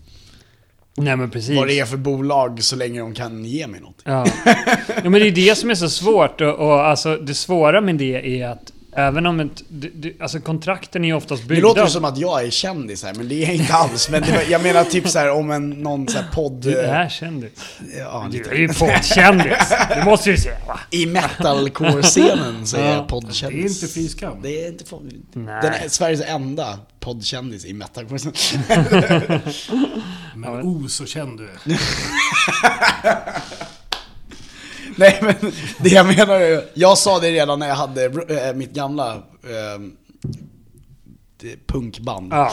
S6: Nej men precis.
S4: vad det är för bolag så länge de kan ge mig något.
S6: Ja. ja, men det är det som är så svårt. Och, och alltså, det svåra med det är att även om ett, det, det, alltså kontrakten är ju oftast
S4: Det
S6: byggda...
S4: låter ju som att jag är kändis här, men det är jag inte alls. Men det, var- jag menar typ så här om en, någon så här podd... eh,
S6: Du är kändis.
S4: Ja,
S6: Du
S4: lite.
S6: är ju poddkändis. Det måste du säga va?
S4: I metalcore-scenen så är jag
S5: Det är
S4: poddkändis.
S5: inte fy skam.
S4: Det är inte pod-
S6: Nej.
S4: Den är Sveriges enda poddkändis i metalcore
S5: Men oh så känd du är.
S4: Nej men det jag menar är, jag sa det redan när jag hade eh, mitt gamla eh, det- punkband.
S6: Ja.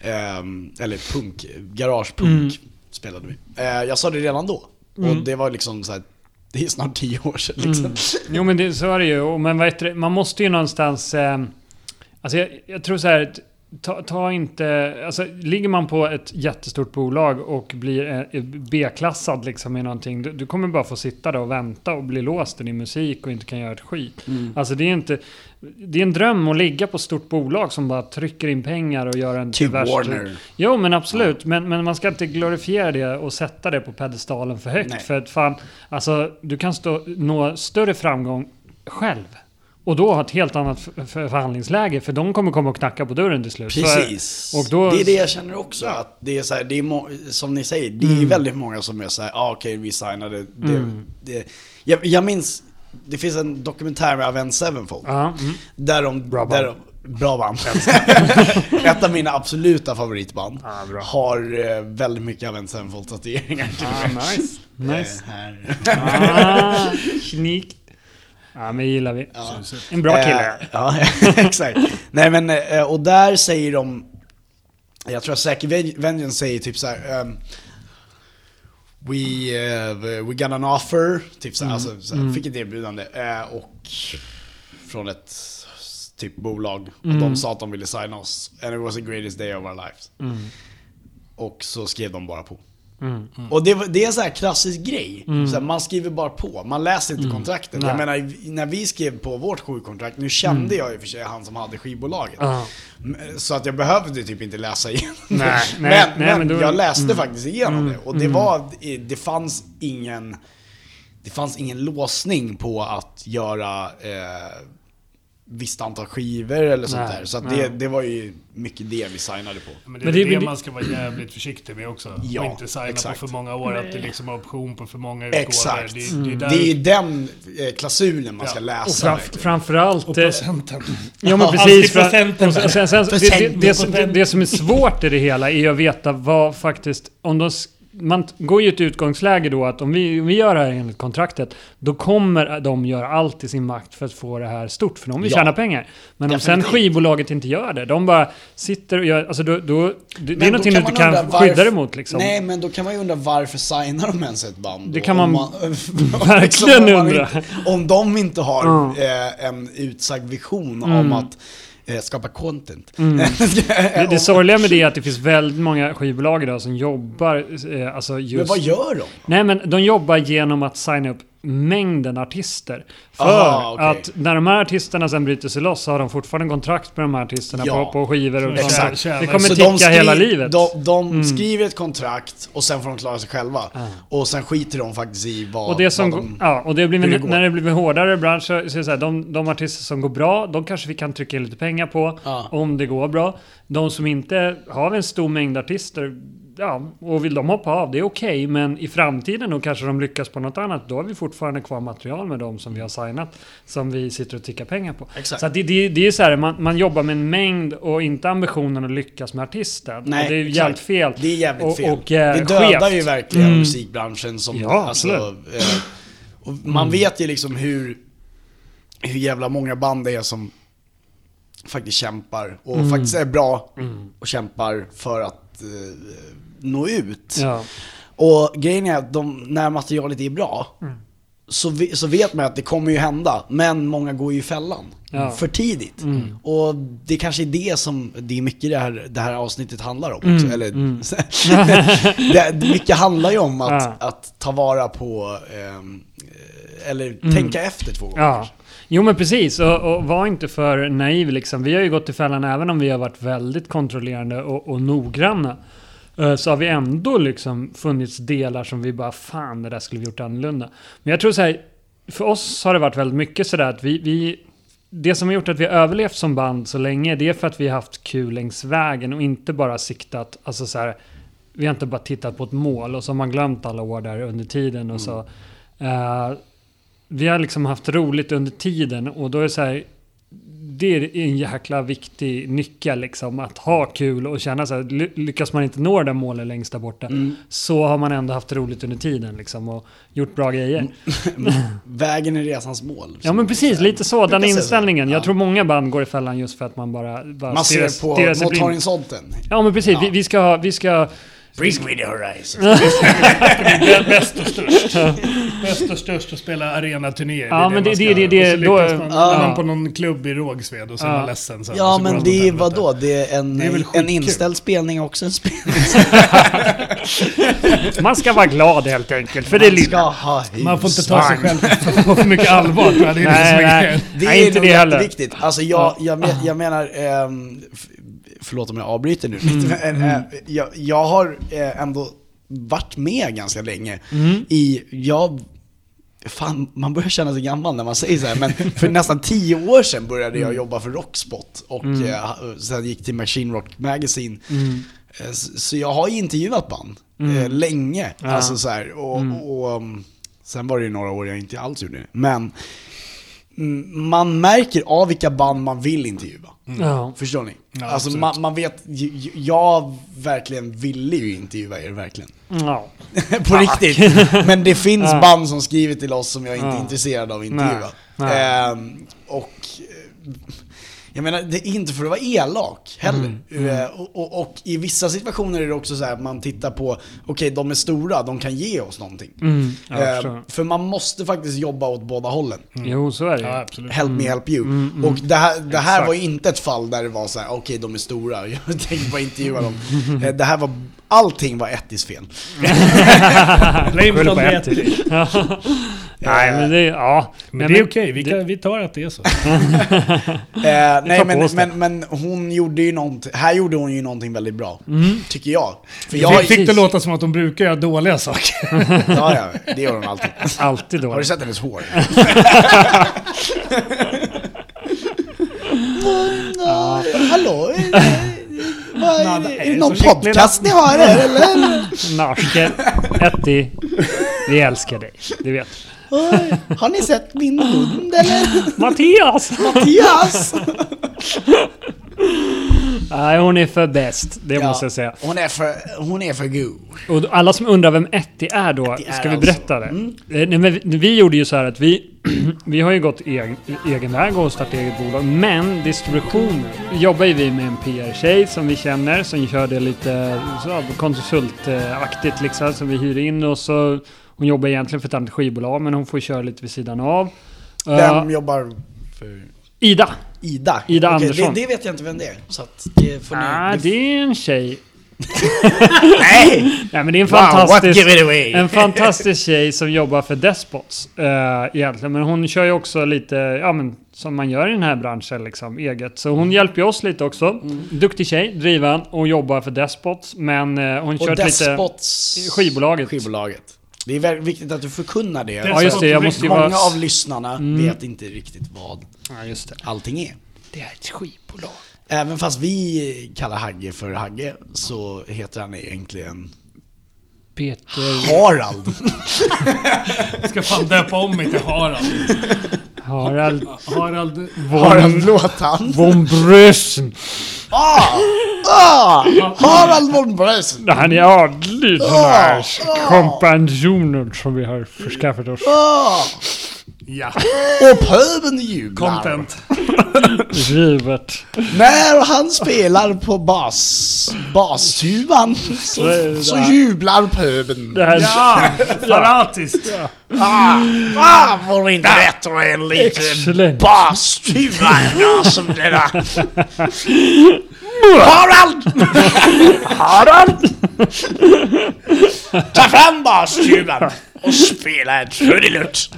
S4: Ehm, eller punk, garagepunk
S6: Mm.
S4: spelade vi. Eh, jag sa det redan då. Och det var liksom så här, det är snart tio år sedan liksom.
S6: Jo men det, så är det ju. Och Men vad heter det? man måste ju någonstans... Eh, alltså jag, jag tror så här... att Ta, ta inte... Alltså, ligger man på ett jättestort bolag och blir eh, B-klassad liksom i någonting. Du, du kommer bara få sitta där och vänta och bli låst i din musik och inte kan göra ett skit.
S4: Mm.
S6: Alltså det är inte... Det är en dröm att ligga på ett stort bolag som bara trycker in pengar och gör en
S4: Typ
S6: pervers-
S4: Warner.
S6: Jo men absolut, men, men man ska inte glorifiera det och sätta det på pedestalen för högt.
S4: Nej.
S6: För att fan, alltså du kan stå, nå större framgång själv. Och då ha ett helt annat f- f- förhandlingsläge, för de kommer komma och knacka på dörren till slut. Så-
S4: Precis.
S6: Och då,
S4: Det är det jag känner också. Att det är så här, det är må- som ni säger, det är
S6: Mm.
S4: väldigt många som är så här, ah, okej vi signade. Det, det. Jag, jag minns, det finns en dokumentär med Avenged Sevenfold.
S6: Ja, mm.
S4: Där de...
S6: Bra
S4: där
S6: band.
S4: de- Bra band. Ett av mina absoluta favoritband
S6: Ah, bra.
S4: har eh, väldigt mycket Avenged Sevenfold-tatueringar.
S6: Ah, nice. Nice.
S4: Eh, här. Eh.
S6: Ah, sneak. Ja, men det gillar vi. En bra kille.
S4: Eh, ja, exakt. Nej men, eh, och där säger de, jag tror att Säker Ven- Vengeance säger typ så här. ehm, we, eh, we got an offer, typ så här,
S6: Mm.
S4: alltså, så här, fick ett erbjudande. eh, och från ett s- typ bolag.
S6: Mm.
S4: Och de sa att de
S6: Mm.
S4: ville signa oss. And it was the greatest day of our lives. Och så skrev de bara på. Och det, var- det är en sån här klassisk grej. Så här, man skriver bara på, man läser inte kontrakten. Jag
S6: Mm. Nej.
S4: menar, när vi skrev på vårt skivkontrakt, nu kände jag i och för sig han som hade skivbolaget.
S6: Mm. Ja.
S4: M- Så att jag behövde typ inte läsa igenom
S6: Nej,
S4: det.
S6: nej,
S4: men,
S6: nej,
S4: men,
S6: men då- mm.
S4: jag läste faktiskt igenom det. Och det var, det fanns ingen... Det fanns ingen låsning på att göra eh, visst antal skivor eller sånt
S6: Nej,
S4: där. Så att
S6: nej.
S4: det, det var ju mycket det vi signade på.
S5: Men det är
S6: Men
S5: men
S6: det-
S5: det,
S6: men det-
S5: man ska vara jävligt försiktig med också.
S4: Ja,
S5: och inte signa
S4: exakt.
S5: på för många år, att det liksom är option på för många utgåvor.
S4: Exakt.
S5: Det, det, är där,
S4: Det är den eh, klausulen man ska
S5: Ja.
S6: Och
S4: läsa.
S6: fram,
S4: Alltså, verkligen.
S6: framförallt...
S5: och
S6: eh,
S4: Mm.
S5: procenten.
S6: Ja men
S1: Alltid
S6: precis. För,
S1: procenten.
S6: och sen, sen, sen, det, det,
S4: Procenten.
S6: det, som- det, det som är svårt i det hela är att veta vad faktiskt... Om de, s- man t- går ju ett utgångsläge då att om vi, om vi gör det här enligt kontraktet, då kommer de göra allt i sin makt för att få det här stort, för de vill
S4: Ja.
S6: tjäna pengar. Men om sen
S4: Definitivt.
S6: skivbolaget inte gör det, de bara sitter och gör... Alltså då, då, det, det är
S4: Men då
S6: någonting du
S4: man
S6: inte kan
S4: undra
S6: skydda
S4: varf-
S6: dig mot liksom.
S4: Nej, men då kan man ju undra varför signar de ens ett band?
S6: Det
S4: då?
S6: kan
S4: Om
S6: man
S4: om
S6: verkligen
S4: om man
S6: undra.
S4: Inte, om de inte har
S6: Ja. Mm.
S4: eh, en utsagd vision om att eh, skapa content.
S6: Det, det sorgliga med det är att det finns väldigt många skivbolag idag som jobbar eh, alltså just...
S4: men vad gör de?
S6: Nej men de jobbar genom att signa upp mängden artister. För
S4: Aha, okej.
S6: att när de här artisterna sen bryter sig loss så har de fortfarande kontrakt med de här artisterna
S4: Ja,
S6: på, på skivor och
S5: exakt.
S6: sånt. där. Det
S5: Så
S6: kommer
S4: Så
S6: ticka
S4: skri-
S6: hela livet.
S4: De,
S6: Mm.
S4: de skriver ett kontrakt och sen får de klara sig själva. Och sen skiter de faktiskt i vad,
S6: och det som,
S4: vad de...
S6: ja, och det blir,
S4: hur det går.
S6: när det blir hårdare bransch så, så är det så här, de, de artister som går bra, de kanske vi kan trycka in lite pengar på
S4: Ja.
S6: om det går bra. De som inte har en stor mängd artister, ja, och vill de hoppa av, det är okej. men i framtiden då kanske de lyckas på något annat. Då har vi fortfarande kvar material med dem som vi har signat, som vi sitter och tickar pengar på.
S4: Exakt.
S6: Så att det, det, det är så här, man, man jobbar med en mängd och inte ambitionen att lyckas med artisten.
S4: Nej,
S6: och det är ju
S4: exakt.
S6: jävligt fel.
S4: Det är jävligt
S6: och,
S4: fel.
S6: Och, eh,
S4: det dödar
S6: skevt.
S4: ju verkligen musikbranschen som...
S6: Ja,
S4: eh, och man vet ju liksom hur, hur jävla många band det är som faktiskt kämpar och faktiskt är bra och kämpar för att eh, nå ut.
S6: Ja.
S4: Och grejen är att de, när materialet är bra
S6: Mm.
S4: så, ve- så vet man att det kommer ju hända, men många går ju i fällan.
S6: Ja. Mm.
S4: För tidigt. Och det kanske är det som, det är mycket det här, det här avsnittet handlar om också.
S6: Mm.
S4: Eller, det, mycket handlar ju om att,
S6: Ja.
S4: att ta vara på, ehm, eh, eller tänka efter två gånger.
S6: Mm. Ja. Jo men precis, och, och var inte för naiv liksom. Vi har ju gått i fällan även om vi har varit väldigt kontrollerande och, och noggranna. eh, Så har vi ändå liksom funnits delar som vi bara fan det där skulle vi gjort annorlunda. Men jag tror så här, för oss har det varit väldigt mycket sådär att vi, vi det som har gjort att vi har överlevt som band så länge, det är för att vi har haft kul längs vägen och inte bara siktat, alltså så här, vi har inte bara tittat på ett mål och så har man glömt alla år där under tiden
S4: Mm.
S6: och så. eh, vi har liksom haft roligt under tiden och då är det så här, det är en jäkla viktig nyckel liksom, att ha kul och känna så här, ly- lyckas man inte nå det där målet längst där borta
S4: Mm.
S6: så har man ändå haft roligt under tiden liksom och gjort bra grejer.
S4: Mm. Vägen är resans mål.
S6: Ja men precis, lite så. Den
S4: brukar säga så.
S6: inställningen. Jag
S4: Ja.
S6: tror många band går i fällan just för att man bara, bara
S4: man ser
S6: sig- stirrar sig
S4: på, mot
S6: blind.
S4: horisonten.
S6: Ja men precis, Vi, vi ska ha, vi ska...
S4: Bring me the horizon.
S5: Bäst och störst. Bäst och störst och spela arenaturnéer.
S6: Ja, men det-
S5: man
S6: det-
S5: ska-
S6: det- det-
S5: och så
S6: då-
S5: lyckas man, då
S6: Ja.
S5: är man på någon klubb i Rågsved och så är man ledsen sen.
S4: Ja
S5: Så går
S4: men
S5: allt åt
S4: det är
S5: helvete.
S4: vadå? Det är en,
S5: Det är väl
S4: en
S5: skitkul.
S4: inställd spelning är också en spelning.
S6: Man ska vara glad helt enkelt, för det är
S4: Man ska
S6: lilla.
S4: ha hus.
S5: Man får inte ta sig
S6: Fan.
S5: själv på för mycket allvar tror jag. Det är
S6: Nej,
S5: det som är
S6: nej.
S5: grejen.
S4: Det
S6: Nej,
S4: är
S6: inte
S4: nog
S6: det heller.
S4: jätteviktigt. Alltså jag, jag, men, jag menar, ehm, f- förlåt om jag avbryter nu
S5: Mm.
S4: lite, men eh, jag, jag har eh, ändå varit med ganska länge
S5: Mm.
S4: i, jag, fan man börjar känna sig gammal när man säger så här, men för nästan tio år sedan började jag jobba för Rockspot och eh, ha- sen gick till Machine Rock Magazine. Eh, s- Så jag har ju intervjuat band eh, länge. Alltså så här, och, och, um, sen var det ju några år jag inte alls gjorde det. Men Mm, man märker av vilka band man vill intervjua.
S6: Ja.
S4: Förstår ni? alltså man, man vet, j- j- jag verkligen ville ju intervjua er verkligen.
S6: ja.
S4: På riktigt. Men det finns
S6: Ja.
S4: band som skriver till oss som jag inte
S6: Ja.
S4: är intresserad av att intervjua.
S6: Nej. Nej.
S4: Ehm, och eh, jag menar, det är inte för att vara elak heller.
S6: Mm.
S4: Eh, Och, och, och i vissa situationer är det också så här att man tittar på, okej de är stora, de kan ge oss någonting.
S6: Mm, jag
S4: Ehm,
S6: förstår. Mm,
S4: för man måste faktiskt jobba åt båda hållen.
S6: Jo, så är det
S5: Ja,
S6: ju.
S5: absolut.
S4: Help
S6: Mm.
S4: me help you. Och det här, det
S6: Mm.
S4: här var ju inte ett fall där det var så här: okej de är stora, jag tänkte bara intervjua dem. Eh, Det här var allting var Ettis fel.
S1: Blame it
S6: Skyller
S1: on
S6: på
S1: the
S6: Etty.
S1: Etty.
S6: Nej men det, ja.
S1: Men
S6: Nej,
S1: det är okej, vi, kan- vi tar att det är så.
S4: Eh, nej
S6: på
S4: men,
S6: oss det.
S4: men, men hon gjorde ju någonting, här gjorde hon ju någonting väldigt bra. Tycker jag. För
S1: Jag
S4: jag,
S1: fick fick det
S6: precis.
S1: låta som att de brukar göra dåliga saker.
S4: ja, ja, det gör hon alltid.
S6: Alltid
S4: Har du
S6: dåligt.
S4: sett hennes hår? Ja, Hallå? eh, Vad är det? Är det någon podcast ni har här eller?
S6: Narske, Etty, vi älskar dig. Det vet du.
S4: Oj, Har ni sett min hund eller?
S6: Mattias!
S4: Mattias!
S6: Nej, hon är för bäst. Det måste jag säga.
S4: Hon är för, hon är för god.
S6: Och alla som undrar vem Etty är då,
S4: är
S6: ska vi
S4: alltså-
S6: berätta det? Eh, Nej, men vi, vi gjorde ju så här att vi, vi har ju gått egen, egen väg och startat eget bolag, men distributionen jobbar ju vi med en PR-tjej som vi känner, som kör det lite så, konsultaktigt liksom, som vi hyr in och så hon jobbar egentligen för ett annat skivbolag, men hon får köra lite vid sidan av. Eh,
S4: Vem jobbar för
S6: Ida!
S4: Ida?
S6: Ida
S4: Okej,
S6: Andersson.
S4: Det, det vet jag inte vem det är. Så att det får ni...
S6: Ah, det är en tjej.
S4: Nej!
S6: Nej men det är en
S4: Wow, what
S6: fantastisk...
S4: give it away!
S6: En fantastisk tjej som jobbar för Despots eh, egentligen. Men hon kör ju också lite, ja men som man gör i den här branschen liksom, eget. Så hon hjälper ju oss lite också. Duktig tjej, driven och jobbar för Despots. Men eh, hon
S4: Och
S6: kört lite...
S4: Despots...
S6: skivbolaget.
S4: Skivbolaget. Det är väldigt viktigt att du förkunnar det. Alltså,
S6: Ja just det, jag måste ju
S4: Många
S6: vara...
S4: av lyssnarna vet inte riktigt vad
S6: Ja, just det.
S4: allting är.
S6: det är ett skivbolag.
S4: Även fast vi kallar Hagge för Hagge så heter han egentligen
S6: Peter
S4: Harald.
S5: Jag ska fan döpa om mig till Harald.
S6: Harald
S5: Harald...
S6: von,
S4: Harald Låtan.
S6: von Brösen.
S4: Ah! Ah! Harald von Brösen.
S6: Han är adlig den
S4: Ah!
S6: här kompanjonen som vi har förskaffat oss.
S4: Ah!
S5: Ja,
S4: Och pöbeln jublar.
S5: content.
S6: Givet.
S4: När han spelar på bas, bashuvan så,
S6: är det
S4: så
S6: där.
S4: jublar pöbeln.
S6: Det här
S5: Ja, fanatiskt.
S4: Ah, ah, vore inte bättre än lite
S6: Excellent.
S4: bashuva idag som denna. Harald! Harald! Ta fram bastuvan och spela en trudelutt.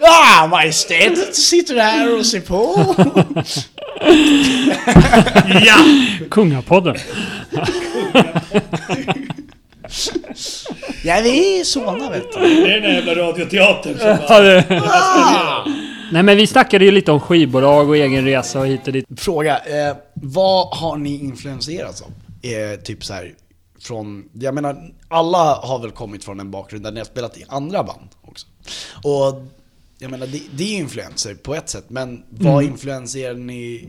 S4: Ah, majestätet sitter här och ser på.
S6: Ja! Kungapodden.
S4: Ja, vi är såna vet du.
S1: Det är den jävla radioteatern som bara...
S6: Ja, det- Nej men vi snackade ju lite om skivbolag och egen resa och hit och dit.
S4: Fråga, eh, vad har ni influenserats av? Eh, typ så här, från, jag menar alla har väl kommit från en bakgrund där ni har spelat i andra band också. Och jag menar det, det är influenser på ett sätt, men vad
S6: Mm.
S4: influenserar ni,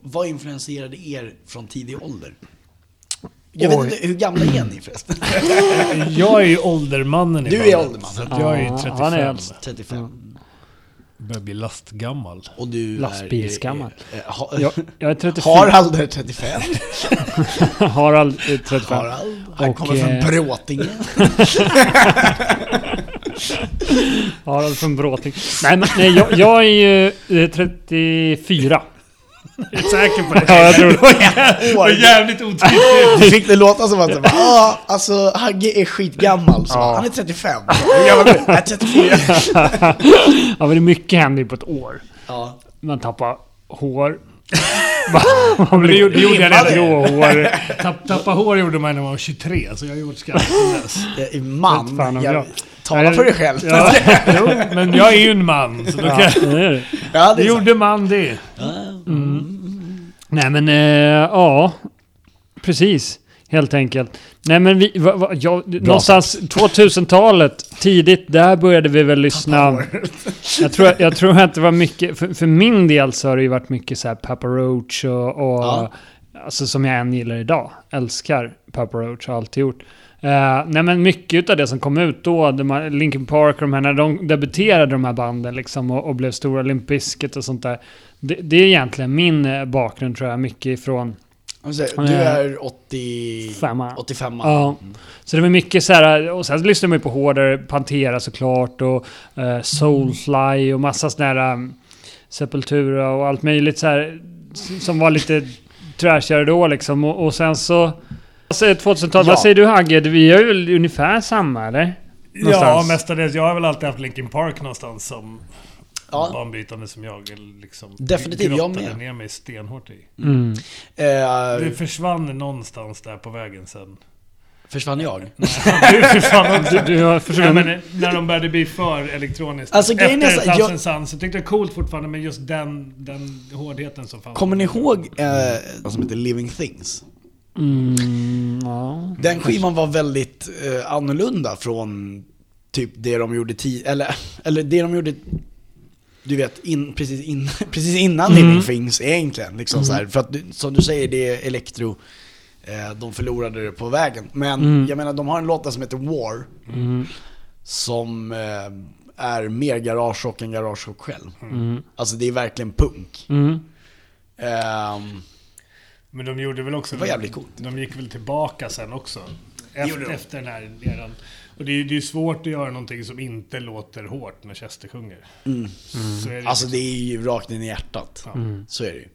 S4: vad influenserade er från tidig ålder? Jag
S1: Oj.
S4: vet inte, hur gamla är ni förresten?
S1: Jag är ju åldermannen i
S4: Du är
S1: bandet,
S4: ålderman.
S1: Så att jag är ju
S6: Ja,
S1: 35.
S6: han är äldst.
S4: 35.
S1: Börjar bli lastgammal.
S4: Och du är...
S6: Lastbilsgammal.
S4: eh, eh, ha-
S6: Jag, jag är 34.
S4: Harald är 35.
S6: Harald eh, är 35.
S4: Harald, han
S6: Och,
S4: kommer
S6: eh,
S4: från Bråtinge.
S6: Harald från Bråting. Nej men nej, jag, jag är ju eh, 34.
S1: Jag är säker på det.
S6: Ja, jag tror det.
S1: Vad jävligt otydligt.
S4: Du fick det låta som att det var, ah, alltså Hagge är skitgammal, så han är 35. Hur gammal är du? Jag är 34.
S6: Ja men det är mycket händer ju på ett år.
S4: Ja.
S6: Man tappar hår. Man- Man
S1: Det
S6: blir
S1: gjorde- det gjorde jag redan.
S6: grå hår.
S5: Tapp, tappa hår gjorde man när man var 23, så jag har gjort skatt sedan dess.
S4: Eh,
S6: Vet fan
S4: Man,
S6: om
S4: jag,
S6: jag-
S4: tala för dig själv.
S6: Ja,
S1: Jo, men jag är ju en man. Så då kan
S6: ja, det är det.
S4: Ja, det
S1: Det
S4: är sant.
S1: gjorde man det.
S6: Nej men, eh, ja. Precis. Helt enkelt. Nej men vi, va, va, ja, någonstans 2000-talet, tidigt, där började vi väl lyssna. Jag tror, jag tror att det var mycket, för, för min del så har det ju varit mycket så här Papa Roach och, och
S4: Ja.
S6: alltså som jag än gillar idag. Älskar Papa Roach, har alltid gjort. Eh, nej men mycket av det som kom ut då, de här Linkin Park och de här, när de debuterade de här banden liksom och, och blev stora, Limp Bizkit och sånt där. Det, det är egentligen min eh, bakgrund tror jag, mycket ifrån
S4: Om jag säger, Du är 80,
S6: femma.
S4: 85.
S6: Ja. Så det var mycket så här, och sen lyssnade man ju på hårdare, Pantera såklart och eh, Soulfly och massa sådana här um, Sepultura och allt möjligt så här, s- som var lite trashigare då liksom. Och, och sen så... Alltså 2000-talet,
S4: Ja.
S6: vad säger du Hagge? Vi gör väl ungefär samma eller?
S5: Ja,
S6: Någonstans.
S5: mestadels. Jag har väl alltid haft Linkin Park någonstans som
S4: Ja.
S5: banbrytande som jag liksom
S4: Definitivt, jag
S5: grottade
S4: med.
S5: ner mig stenhårt i.
S4: Eh,
S5: Det försvann någonstans där på vägen sen.
S4: försvann jag?
S5: Du försvann också.
S6: Du, du har
S5: Nej,
S6: försvunnit.
S5: men när de började bli för elektroniskt.
S4: Alltså, grejen är
S5: Efter
S4: så- jag-
S5: Thousand Suns så tyckte jag coolt fortfarande, men just den, den hårdheten som fanns.
S4: Kommer ni ihåg eh, vad som heter Living Things?
S6: Mm, ja.
S4: Den skivan var väldigt eh, annorlunda från typ det de gjorde ti- eller, eller det de gjorde du vet, in, precis, in, precis innan Living Things egentligen. Liksom så här, för att du- som du säger, det är elektro. Eh, de förlorade det på vägen. Men jag menar, de har en låt där som heter War. Som eh, är mer garagerock än garagerock själv. Alltså det är verkligen punk.
S6: Mm.
S4: Ehm,
S5: Men de gjorde väl också...
S4: Det var jävligt coolt.
S5: De gick väl tillbaka sen också.
S4: gjorde
S5: Efter,
S4: de.
S5: efter den här eran. Och det är ju det är svårt att göra någonting som inte låter hårt när Chester sjunger. Mm. Så är det,
S4: Mm.
S5: liksom-
S4: Alltså det är ju rakt in i hjärtat. Så är det ju.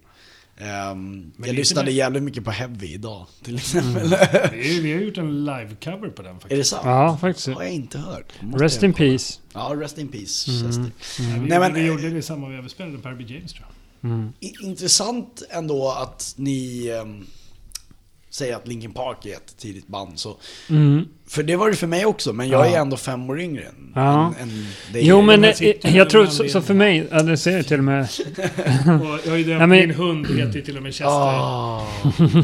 S4: Ehm, jag
S5: är
S4: lyssnade
S5: inte Mm. det-
S4: jävligt mycket på Heavy idag till exempel.
S5: vi, är- vi har gjort en live-cover på den
S4: är
S5: faktiskt.
S4: det sant?
S6: ja, faktiskt.
S4: Har jag inte hört. Måste
S6: Rest
S4: jag
S6: in Mm.
S4: kolla.
S6: peace.
S4: Ja, rest in peace. Chester.
S5: Nej, vi,
S4: Nej, men-
S5: vi gjorde det samma vi överspelade Perby James tror jag.
S4: I- Intressant ändå att ni ehm, säger att Linkin Park är ett tidigt band. Så.
S6: Mm.
S4: För det var det för mig också, men jag är ändå fem år yngre än,
S6: Ja.
S4: än, än dig.
S6: Jo men
S5: man
S6: eh,
S5: sitter
S6: jag tror,
S5: mellan
S6: så, så
S5: benen.
S6: för mig, ja, det ser jag till och med.
S5: Och jag har ju döpt,
S6: Nej, men-
S5: min hund heter ju till och med Chester.
S4: Ah.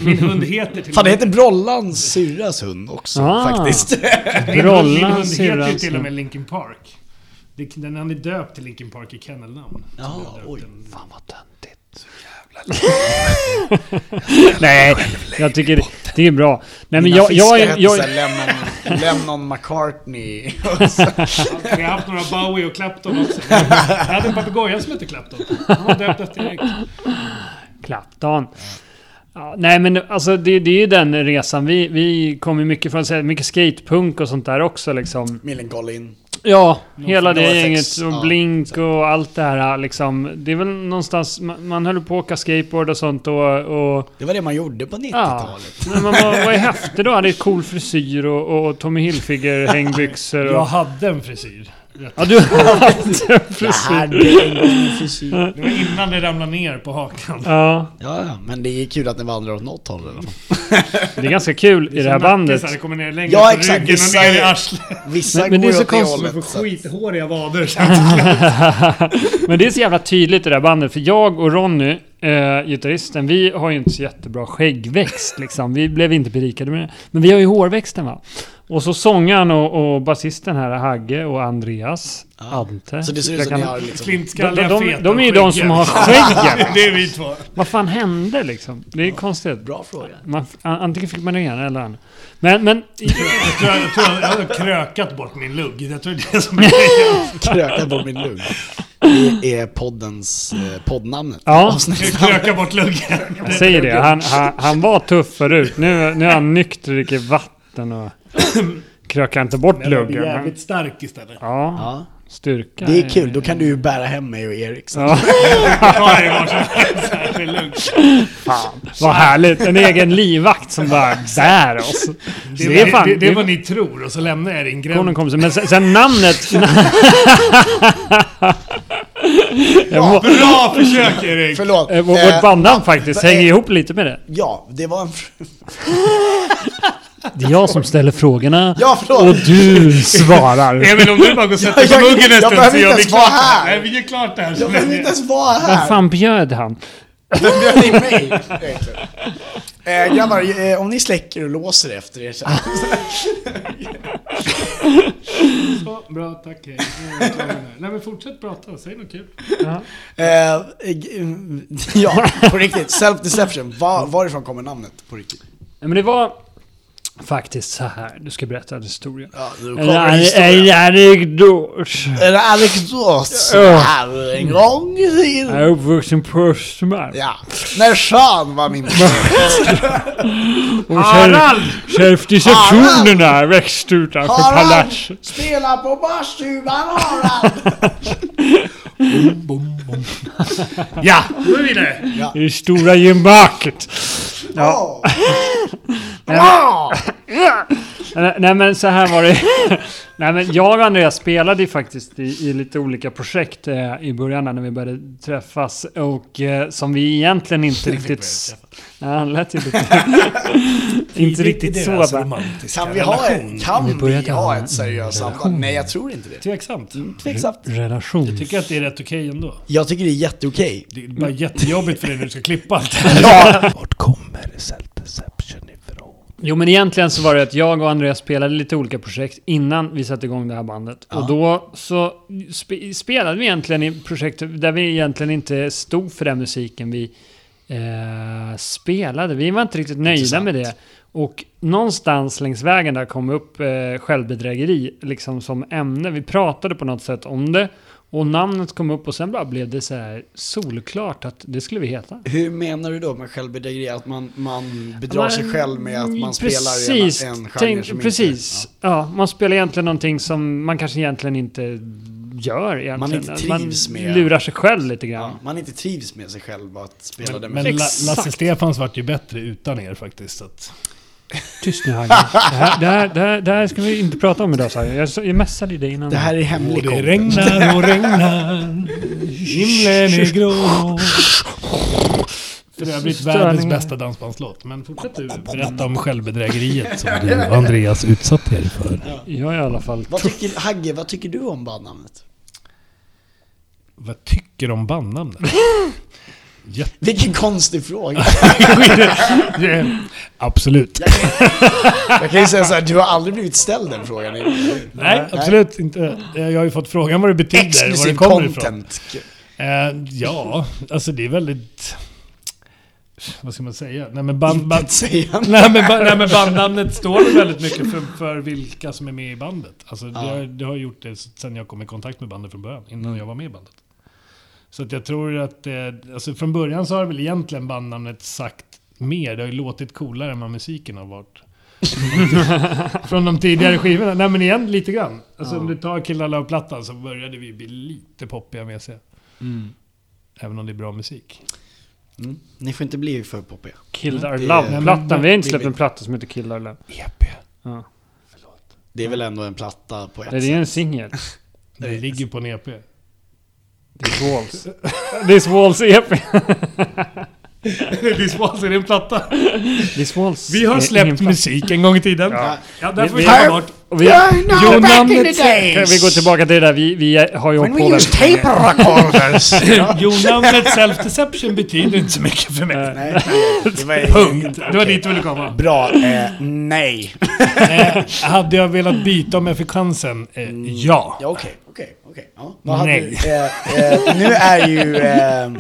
S5: Min hund heter till och
S4: Fan, det
S5: med...
S4: heter Brollans syrras hund också
S6: Ah.
S4: faktiskt.
S5: Min hund, min
S6: Brollan,
S5: hund heter ju
S6: syrran,
S5: till och med Linkin Park. Det- Den han är döpt till Linkin Park i kennelnamn. Så
S4: Ja,
S5: vi har döpt
S4: oj.
S5: den-
S6: Fan vad töntigt. Nej, jag tycker det är bra. Nej men
S4: Mina
S6: jag...
S4: fiskar
S6: jag, jag,
S4: hette
S6: jag
S4: såhär Lennon, Lennon McCartney. Och så-
S5: Vi har haft några Bowie och Clapton också. Jag hade en papegoja som hette Clapton. Han var döpt efter Erik.
S6: Clapton. Ja, nej men alltså det, det är ju den resan. Vi, vi kommer ju mycket från så här, mycket skatepunk och sånt där också liksom.
S4: Millencolin.
S6: Ja, hela
S4: No
S6: det
S4: effects.
S6: gänget och
S4: Ja,
S6: Blink och allt det här liksom. Det är väl någonstans, man, man höll på att åka skateboard och sånt och... och
S4: Det var det man gjorde på 90-talet.
S6: men man var, var ju häftig då, hade cool frisyr och, och Tommy Hilfiger hängbyxor
S5: Jag
S6: och...
S5: hade en frisyr.
S6: Ja, du hade en
S4: Jag
S6: frisyr.
S4: hade en gång en frisyr.
S5: Det var innan det ramlade ner på hakan.
S6: Ja,
S4: Ja, ja, men det är kul att den vandrar åt något håll i alla fall.
S6: det är ganska kul i det här bandet.
S5: Det kommer ner längre
S4: Ja,
S5: på
S4: exakt.
S5: ryggen och
S4: Vissa
S5: ner i
S4: är-
S5: arslet.
S4: Vissa
S6: Men- men det
S4: går
S6: är
S4: ju
S6: så
S4: åt det
S6: konstigt,
S5: Man får
S4: hållet. Så. att-
S5: skithåriga vader.
S6: Men det är så jävla tydligt i det här bandet, för jag och Ronny, eh, gitarristen, vi har ju inte så jättebra skäggväxt liksom. Vi blev inte berikade med det. Men vi har ju hårväxten va? Och så sångaren och, och basisten här, Hagge och Andreas, Ante.
S4: Så det ser ut
S6: Jag
S4: som ni
S6: kan-
S4: har liksom...
S6: de,
S5: Flintskalliga,
S6: de,
S5: feta
S6: de är ju
S5: och
S6: de
S5: skäggiga.
S6: som har skäggen.
S5: Det är vi två.
S6: Vad fan hände liksom? Det är konstigt.
S4: Bra fråga.
S6: Man, an- antingen fick man det ena eller andra. Men, men...
S5: Jag tror jag, jag, tror jag, jag har krökat bort min lugg. Jag tror det är det som är grejen.
S4: Kröka på min lugg. Det är poddens... Eh, poddnamnet.
S6: Ja,
S5: Jag krökar bort luggen.
S6: jag säger det. Han, han, han var tuff förut. Nu, nu är han nykter, dricker vatten och krökar inte bort
S5: Men jag blir
S6: luggen. Han-
S5: jävligt stark istället.
S6: Ja,
S4: Ja.
S6: styrka.
S4: Det är kul, då kan du ju bära hem mig och Erik sen.
S6: Ja,
S5: Ta det var som helst. Det är lugnt.
S6: vad härligt. En egen livvakt som bara bär oss.
S5: Det,
S6: Det är fan...
S5: det, det är vad
S6: det-
S5: ni tror och så lämnar jag er i en gränd.
S6: Konen kom sig. Men sen, sen namnet...
S5: Bra försök Erik!
S4: Förlåt.
S6: eh, Vårt
S4: Eh,
S6: bandnamn faktiskt
S4: eh,
S6: hänger ihop lite med det.
S4: ja, det var en... fr-
S6: Det är jag som ställer frågorna.
S4: Ja, förlåt.
S6: Och du svarar.
S5: Emil om du bara går och sätter dig på
S4: Jag-
S5: muggen en
S4: jag
S5: stund
S4: behöver
S5: så
S4: inte
S5: gör vi
S4: ens vara
S5: klart det
S4: här.
S5: här. Nej, vi gör klart det här. så
S4: Jag behöver
S5: länge.
S4: inte ens vara
S6: Vad
S4: här.
S6: fan bjöd han?
S4: Den bjöd in mig. egentligen. Eh, grabbar, eh, om ni släcker och låser efter er så...
S5: Så, Bra, tack. hej. Nu är jag klar med det här. Nej men fortsätt prata, säg något kul.
S4: Eh, eh, mm, ja, på riktigt. Self-deception. Va, varifrån kommer namnet på riktigt?
S6: Nej, Men det var faktiskt så här. Du ska berätta en historia.
S4: Ja, nu
S6: En
S4: kommer
S6: an- en
S4: historien.
S6: anekdot.
S4: En anekdot
S6: Ja.
S4: här en gång i
S6: Jag är
S4: tiden.
S6: uppvuxen på Östermalm.
S4: Ja, när Sean var min
S6: Och själv- Självdissektionerna växte utanför
S4: Harald!
S6: palatset.
S4: Spela på barstugan Harald!
S6: Ja,
S5: Då är vi vidare.
S6: i stora gemaklet. Ja. Nej, Nej men så här var det. Nej men jag och Andreas spelade ju faktiskt i, i lite olika projekt eh, i början där när vi började träffas. Och eh, som vi egentligen inte riktigt... Ja, han lät ju lite... inte riktigt så
S4: alltså
S6: bara.
S4: Kan vi ha, en,
S6: Vi
S4: kan vi
S6: började ha
S4: ha
S6: en
S4: ett seriöst
S6: relation.
S4: samband? Nej, jag tror inte det.
S5: Tveksamt.
S4: Tveksamt.
S6: Relation.
S5: Jag tycker att det är rätt okej ändå.
S4: Jag tycker det är jätteokej.
S5: Det är bara jättejobbigt för dig när du ska klippa allt.
S4: Vart kommer self-deception ifrån?
S6: Jo men egentligen så var det att jag och Andreas spelade lite olika projekt innan vi satte igång det här bandet. Och då så sp- spelade vi egentligen i projekt där vi egentligen inte stod för den musiken vi eh, spelade. Vi var inte riktigt nöjda
S4: Intressant.
S6: med det. Och någonstans längs vägen där kom upp eh, självbedrägeri liksom som ämne. Vi pratade på något sätt om det. Och namnet kom upp och sen bara blev det så här solklart att det skulle vi heta.
S4: Hur menar du då med självbedrägeri? Att man, man bedrar
S6: Man-
S4: sig själv med att man spelar i
S6: precis,
S4: en, en genre
S6: tänk-
S4: som
S6: Precis, ja. Man spelar egentligen någonting som man kanske egentligen inte gör egentligen.
S4: Man inte trivs
S6: man
S4: med.
S6: lurar sig själv lite
S4: inte...
S6: grann.
S4: Ja, man inte trivs med sig själv och att spela den med.
S5: Men, men La,
S6: Exakt.
S5: Lasse Stefans vart ju bättre utan er faktiskt. Så att,
S6: Tyst nu Hagge. Det här, det, här, det, här, det här ska vi inte prata om idag sa jag. Jag, sa- jag messade ju dig innan.
S4: Det här är
S5: och
S4: hemlig
S5: det
S4: content.
S5: regnar och regnar. Himlen är grå. För övrigt världens
S6: Störningar.
S5: bästa dansbandslåt. Men fortsätt du berätta om självbedrägeriet som du och Andreas utsatte er för.
S6: Jag i alla fall.
S4: Vad tycker, Hagge, vad tycker du om bandnamnet?
S5: Vad tycker du om bandnamnet?
S4: Vilken konstig fråga.
S5: Eh, Absolut.
S4: Jag kan ju säga så här, du har aldrig blivit ställd den frågan. eller hur?
S5: Nej, absolut inte. Eh, Jag har ju fått frågan vad det betyder, var det
S4: Exklusiv
S5: kommer ifrån.
S4: content.
S5: Eh, ja, alltså det är väldigt... Vad ska man säga? Nej men, band, band,
S4: Säger han.
S5: nej, men, ba- nej, men bandnamnet står det väldigt mycket för, för vilka som är med i bandet. Alltså det, har, det har gjort det sen jag kom i kontakt med bandet från början, innan jag var med i bandet. Så att jag tror att, eh, alltså från början så har väl egentligen bandnamnet sagt mer. Det har ju låtit coolare än vad musiken har varit. från de tidigare skivorna. Nej men igen, lite grann. Alltså om du tar Killar Love-plattan så började vi bli lite poppiga med sig. Mm. Även om det är bra musik.
S4: Mm. Ni får inte bli för poppiga.
S6: Killar
S4: Det-
S5: Nej, men-
S6: Love-plattan. Vi har inte släppt
S4: det-
S6: en platta som heter Killar Love.
S5: EP.
S6: Ja.
S4: Det är väl ändå en platta på ett
S6: Nej, Det är en singel.
S5: Det ligger på en E EP.
S6: This Walls. This Walls E EP.
S5: This Walls är det en platta.
S6: This Walls
S5: Vi har
S6: är ingen
S5: släppt
S6: platta.
S5: musik en gång i tiden. Ja, där får vi
S6: Vi-
S5: ta bort.
S6: Och Vi,
S5: Jo, namnet,
S6: kan vi gå tillbaka till det där. Vi, vi har ju hållit på väldigt länge.
S4: recorders.
S5: jo, namnet Self-Deception betyder inte så mycket för mig.
S4: Nej, det var
S5: Punkt. Det var dit du ville komma.
S4: bra. Eh, nej.
S5: Eh, hade jag velat byta om jag fick chansen? Eh,
S6: Mm.
S5: ja.
S4: Ja, okej. Okej, okej. Ja. Vad hade-
S5: Nej.
S4: eh, eh, nu är ju eh,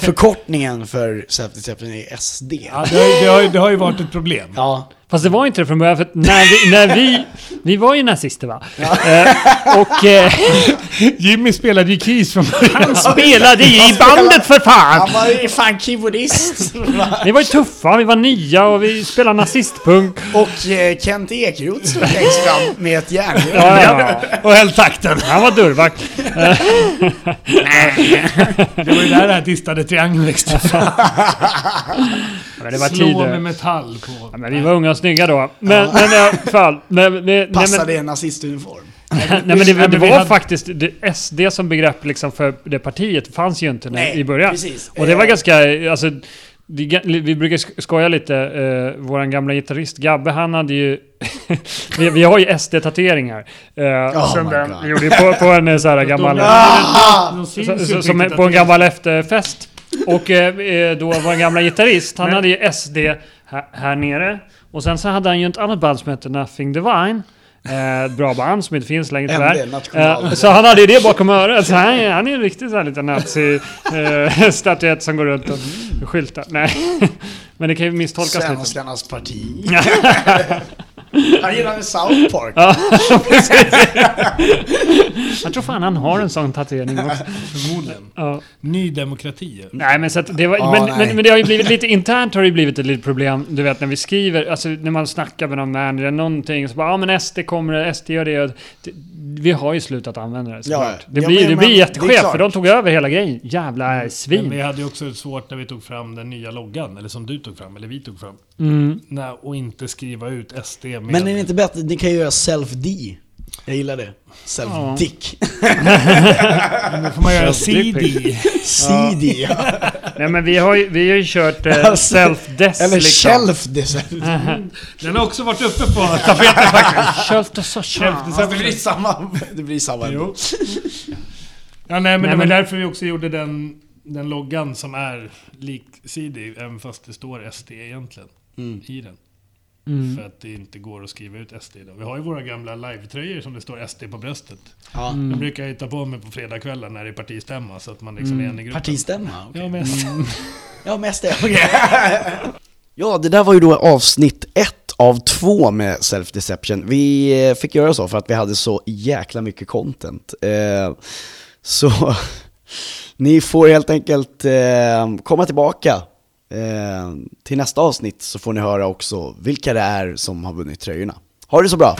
S4: förkortningen för self-deception är SD.
S5: ja det, har, det, har, ju- det har ju varit ett problem.
S4: Ja,
S6: Fast det var inte det från början, för att när vi, när vi, vi var ju nazister va? Eh, och eh,
S5: Jimmy spelade ju Keys från början.
S6: han spelade ju i bandet för fan!
S4: han var ju fan keyboardist.
S6: Vi var ju tuffa, vi var nya och vi spelade nazistpunk.
S4: Och eh, Kent Ekeroth stod längst fram med ett järn.
S6: Ja, ja, ja.
S5: Och höll takten.
S6: Han var dörrvakt.
S5: Det var ju där det här distade triangeln växte fram.
S6: Men det var
S5: Slå med
S6: tider.
S5: metall på.
S6: Ja, men vi var unga och snygga då. Men, men i alla fall. Nej, nej, nej, men-
S4: Passade i en nazistuniform.
S6: Nej men det,
S5: Nej, men
S6: det
S5: vi
S6: var
S5: hade-
S6: faktiskt, det, SD som begrepp liksom för det partiet fanns ju inte när,
S4: Nej,
S6: i början.
S4: precis.
S6: Och det var
S4: Eh.
S6: ganska, eh, alltså, det, är ga- vi brukar sk- skoja lite, eh, våran gamla gitarrist Gabbe han hade ju, vi, vi har ju SD-tatueringar. Eh,
S4: Oh
S6: som
S4: my
S6: den
S4: God.
S6: vi gjorde på, på en eh, så här gammal...
S5: Ah! De syns
S6: Så-
S5: ju
S6: så-
S5: inte
S6: Som
S5: riktigt
S6: på
S5: att
S6: en
S5: det-
S6: gammal efterfest. Och eh, eh, då var en gamla gitarrist, han hade ju SD här, här nere. Och sen så hade han ju ett annat band som hette Nothing Divine. Eh, ett bra band som inte finns längre
S4: MD,
S6: tyvärr.
S4: national.
S6: Eh, så han hade ju det bakom örat. Så han, är- han är en riktig sån här liten nazi-statyett som går runt och skyltar. Nej. Men det kan ju misstolkas lite.
S4: Svenskarnas parti. Han gillade South Park.
S6: Ja, jag tror fan han har en sån tatuering också.
S5: Förmodligen.
S6: Ja.
S5: Ny demokrati.
S6: Nej, men, så att det var,
S4: Ja,
S6: men,
S4: Ah, nej.
S6: men, men det har ju blivit lite internt har det ju blivit ett litet problem. Du vet när vi skriver, alltså när man snackar med någon manager eller någonting. Så bara, ja ah, men SD kommer, SD gör det. och det vi har ju slutat använda det såklart.
S4: Ja,
S6: det
S4: ja,
S6: blir,
S4: men-
S6: det blir
S4: men det är
S6: jätteskevt
S4: klart. Mm.
S6: för de tog över hela grejen. Jävla
S5: Men vi
S6: svin.
S5: hade ju också svårt när vi tog fram den nya loggan, eller som du tog fram, eller vi tog fram.
S6: Mm.
S5: Nej, och inte skriva ut SD med...
S4: Men är det inte bättre, ni kan ju göra self-D. Jag gillar det. Self-dick.
S5: Då får man göra
S6: Self-dick
S5: CD.
S6: pic.
S4: CD. ja.
S6: Nej men vi har ju, vi har ju kört eh,
S4: Alltså,
S6: self-death
S4: Eller
S6: liksom.
S4: shelf-design.
S5: Den har också varit uppe på tapeten faktiskt.
S6: Self-death.
S4: det blir samma. Det blir samma.
S5: Jo. Ja, nej, men
S6: Nej,
S5: det var
S6: men-
S5: därför vi också gjorde den, den loggan som är liksidig, även fast det står SD egentligen
S4: Mm.
S5: i den.
S6: Mm.
S5: För att det inte går att skriva ut SD idag. Vi har ju våra gamla live-tröjor som det står SD på bröstet.
S4: Ja.
S6: Mm.
S5: De brukar jag ju ta på mig på fredagskvällar när det är partistämma, så att man liksom
S6: Mm.
S5: är en i gruppen.
S4: Partistämma? okej.
S5: Ja, men
S4: Ja, mest det. ja, det där var ju då avsnitt ett av två med Self-Deception. Vi eh, fick göra så för att vi hade så jäkla mycket content. Eh, Så ni får helt enkelt eh, komma tillbaka eh, till nästa avsnitt så får ni höra också vilka det är som har vunnit tröjorna. Ha det så bra!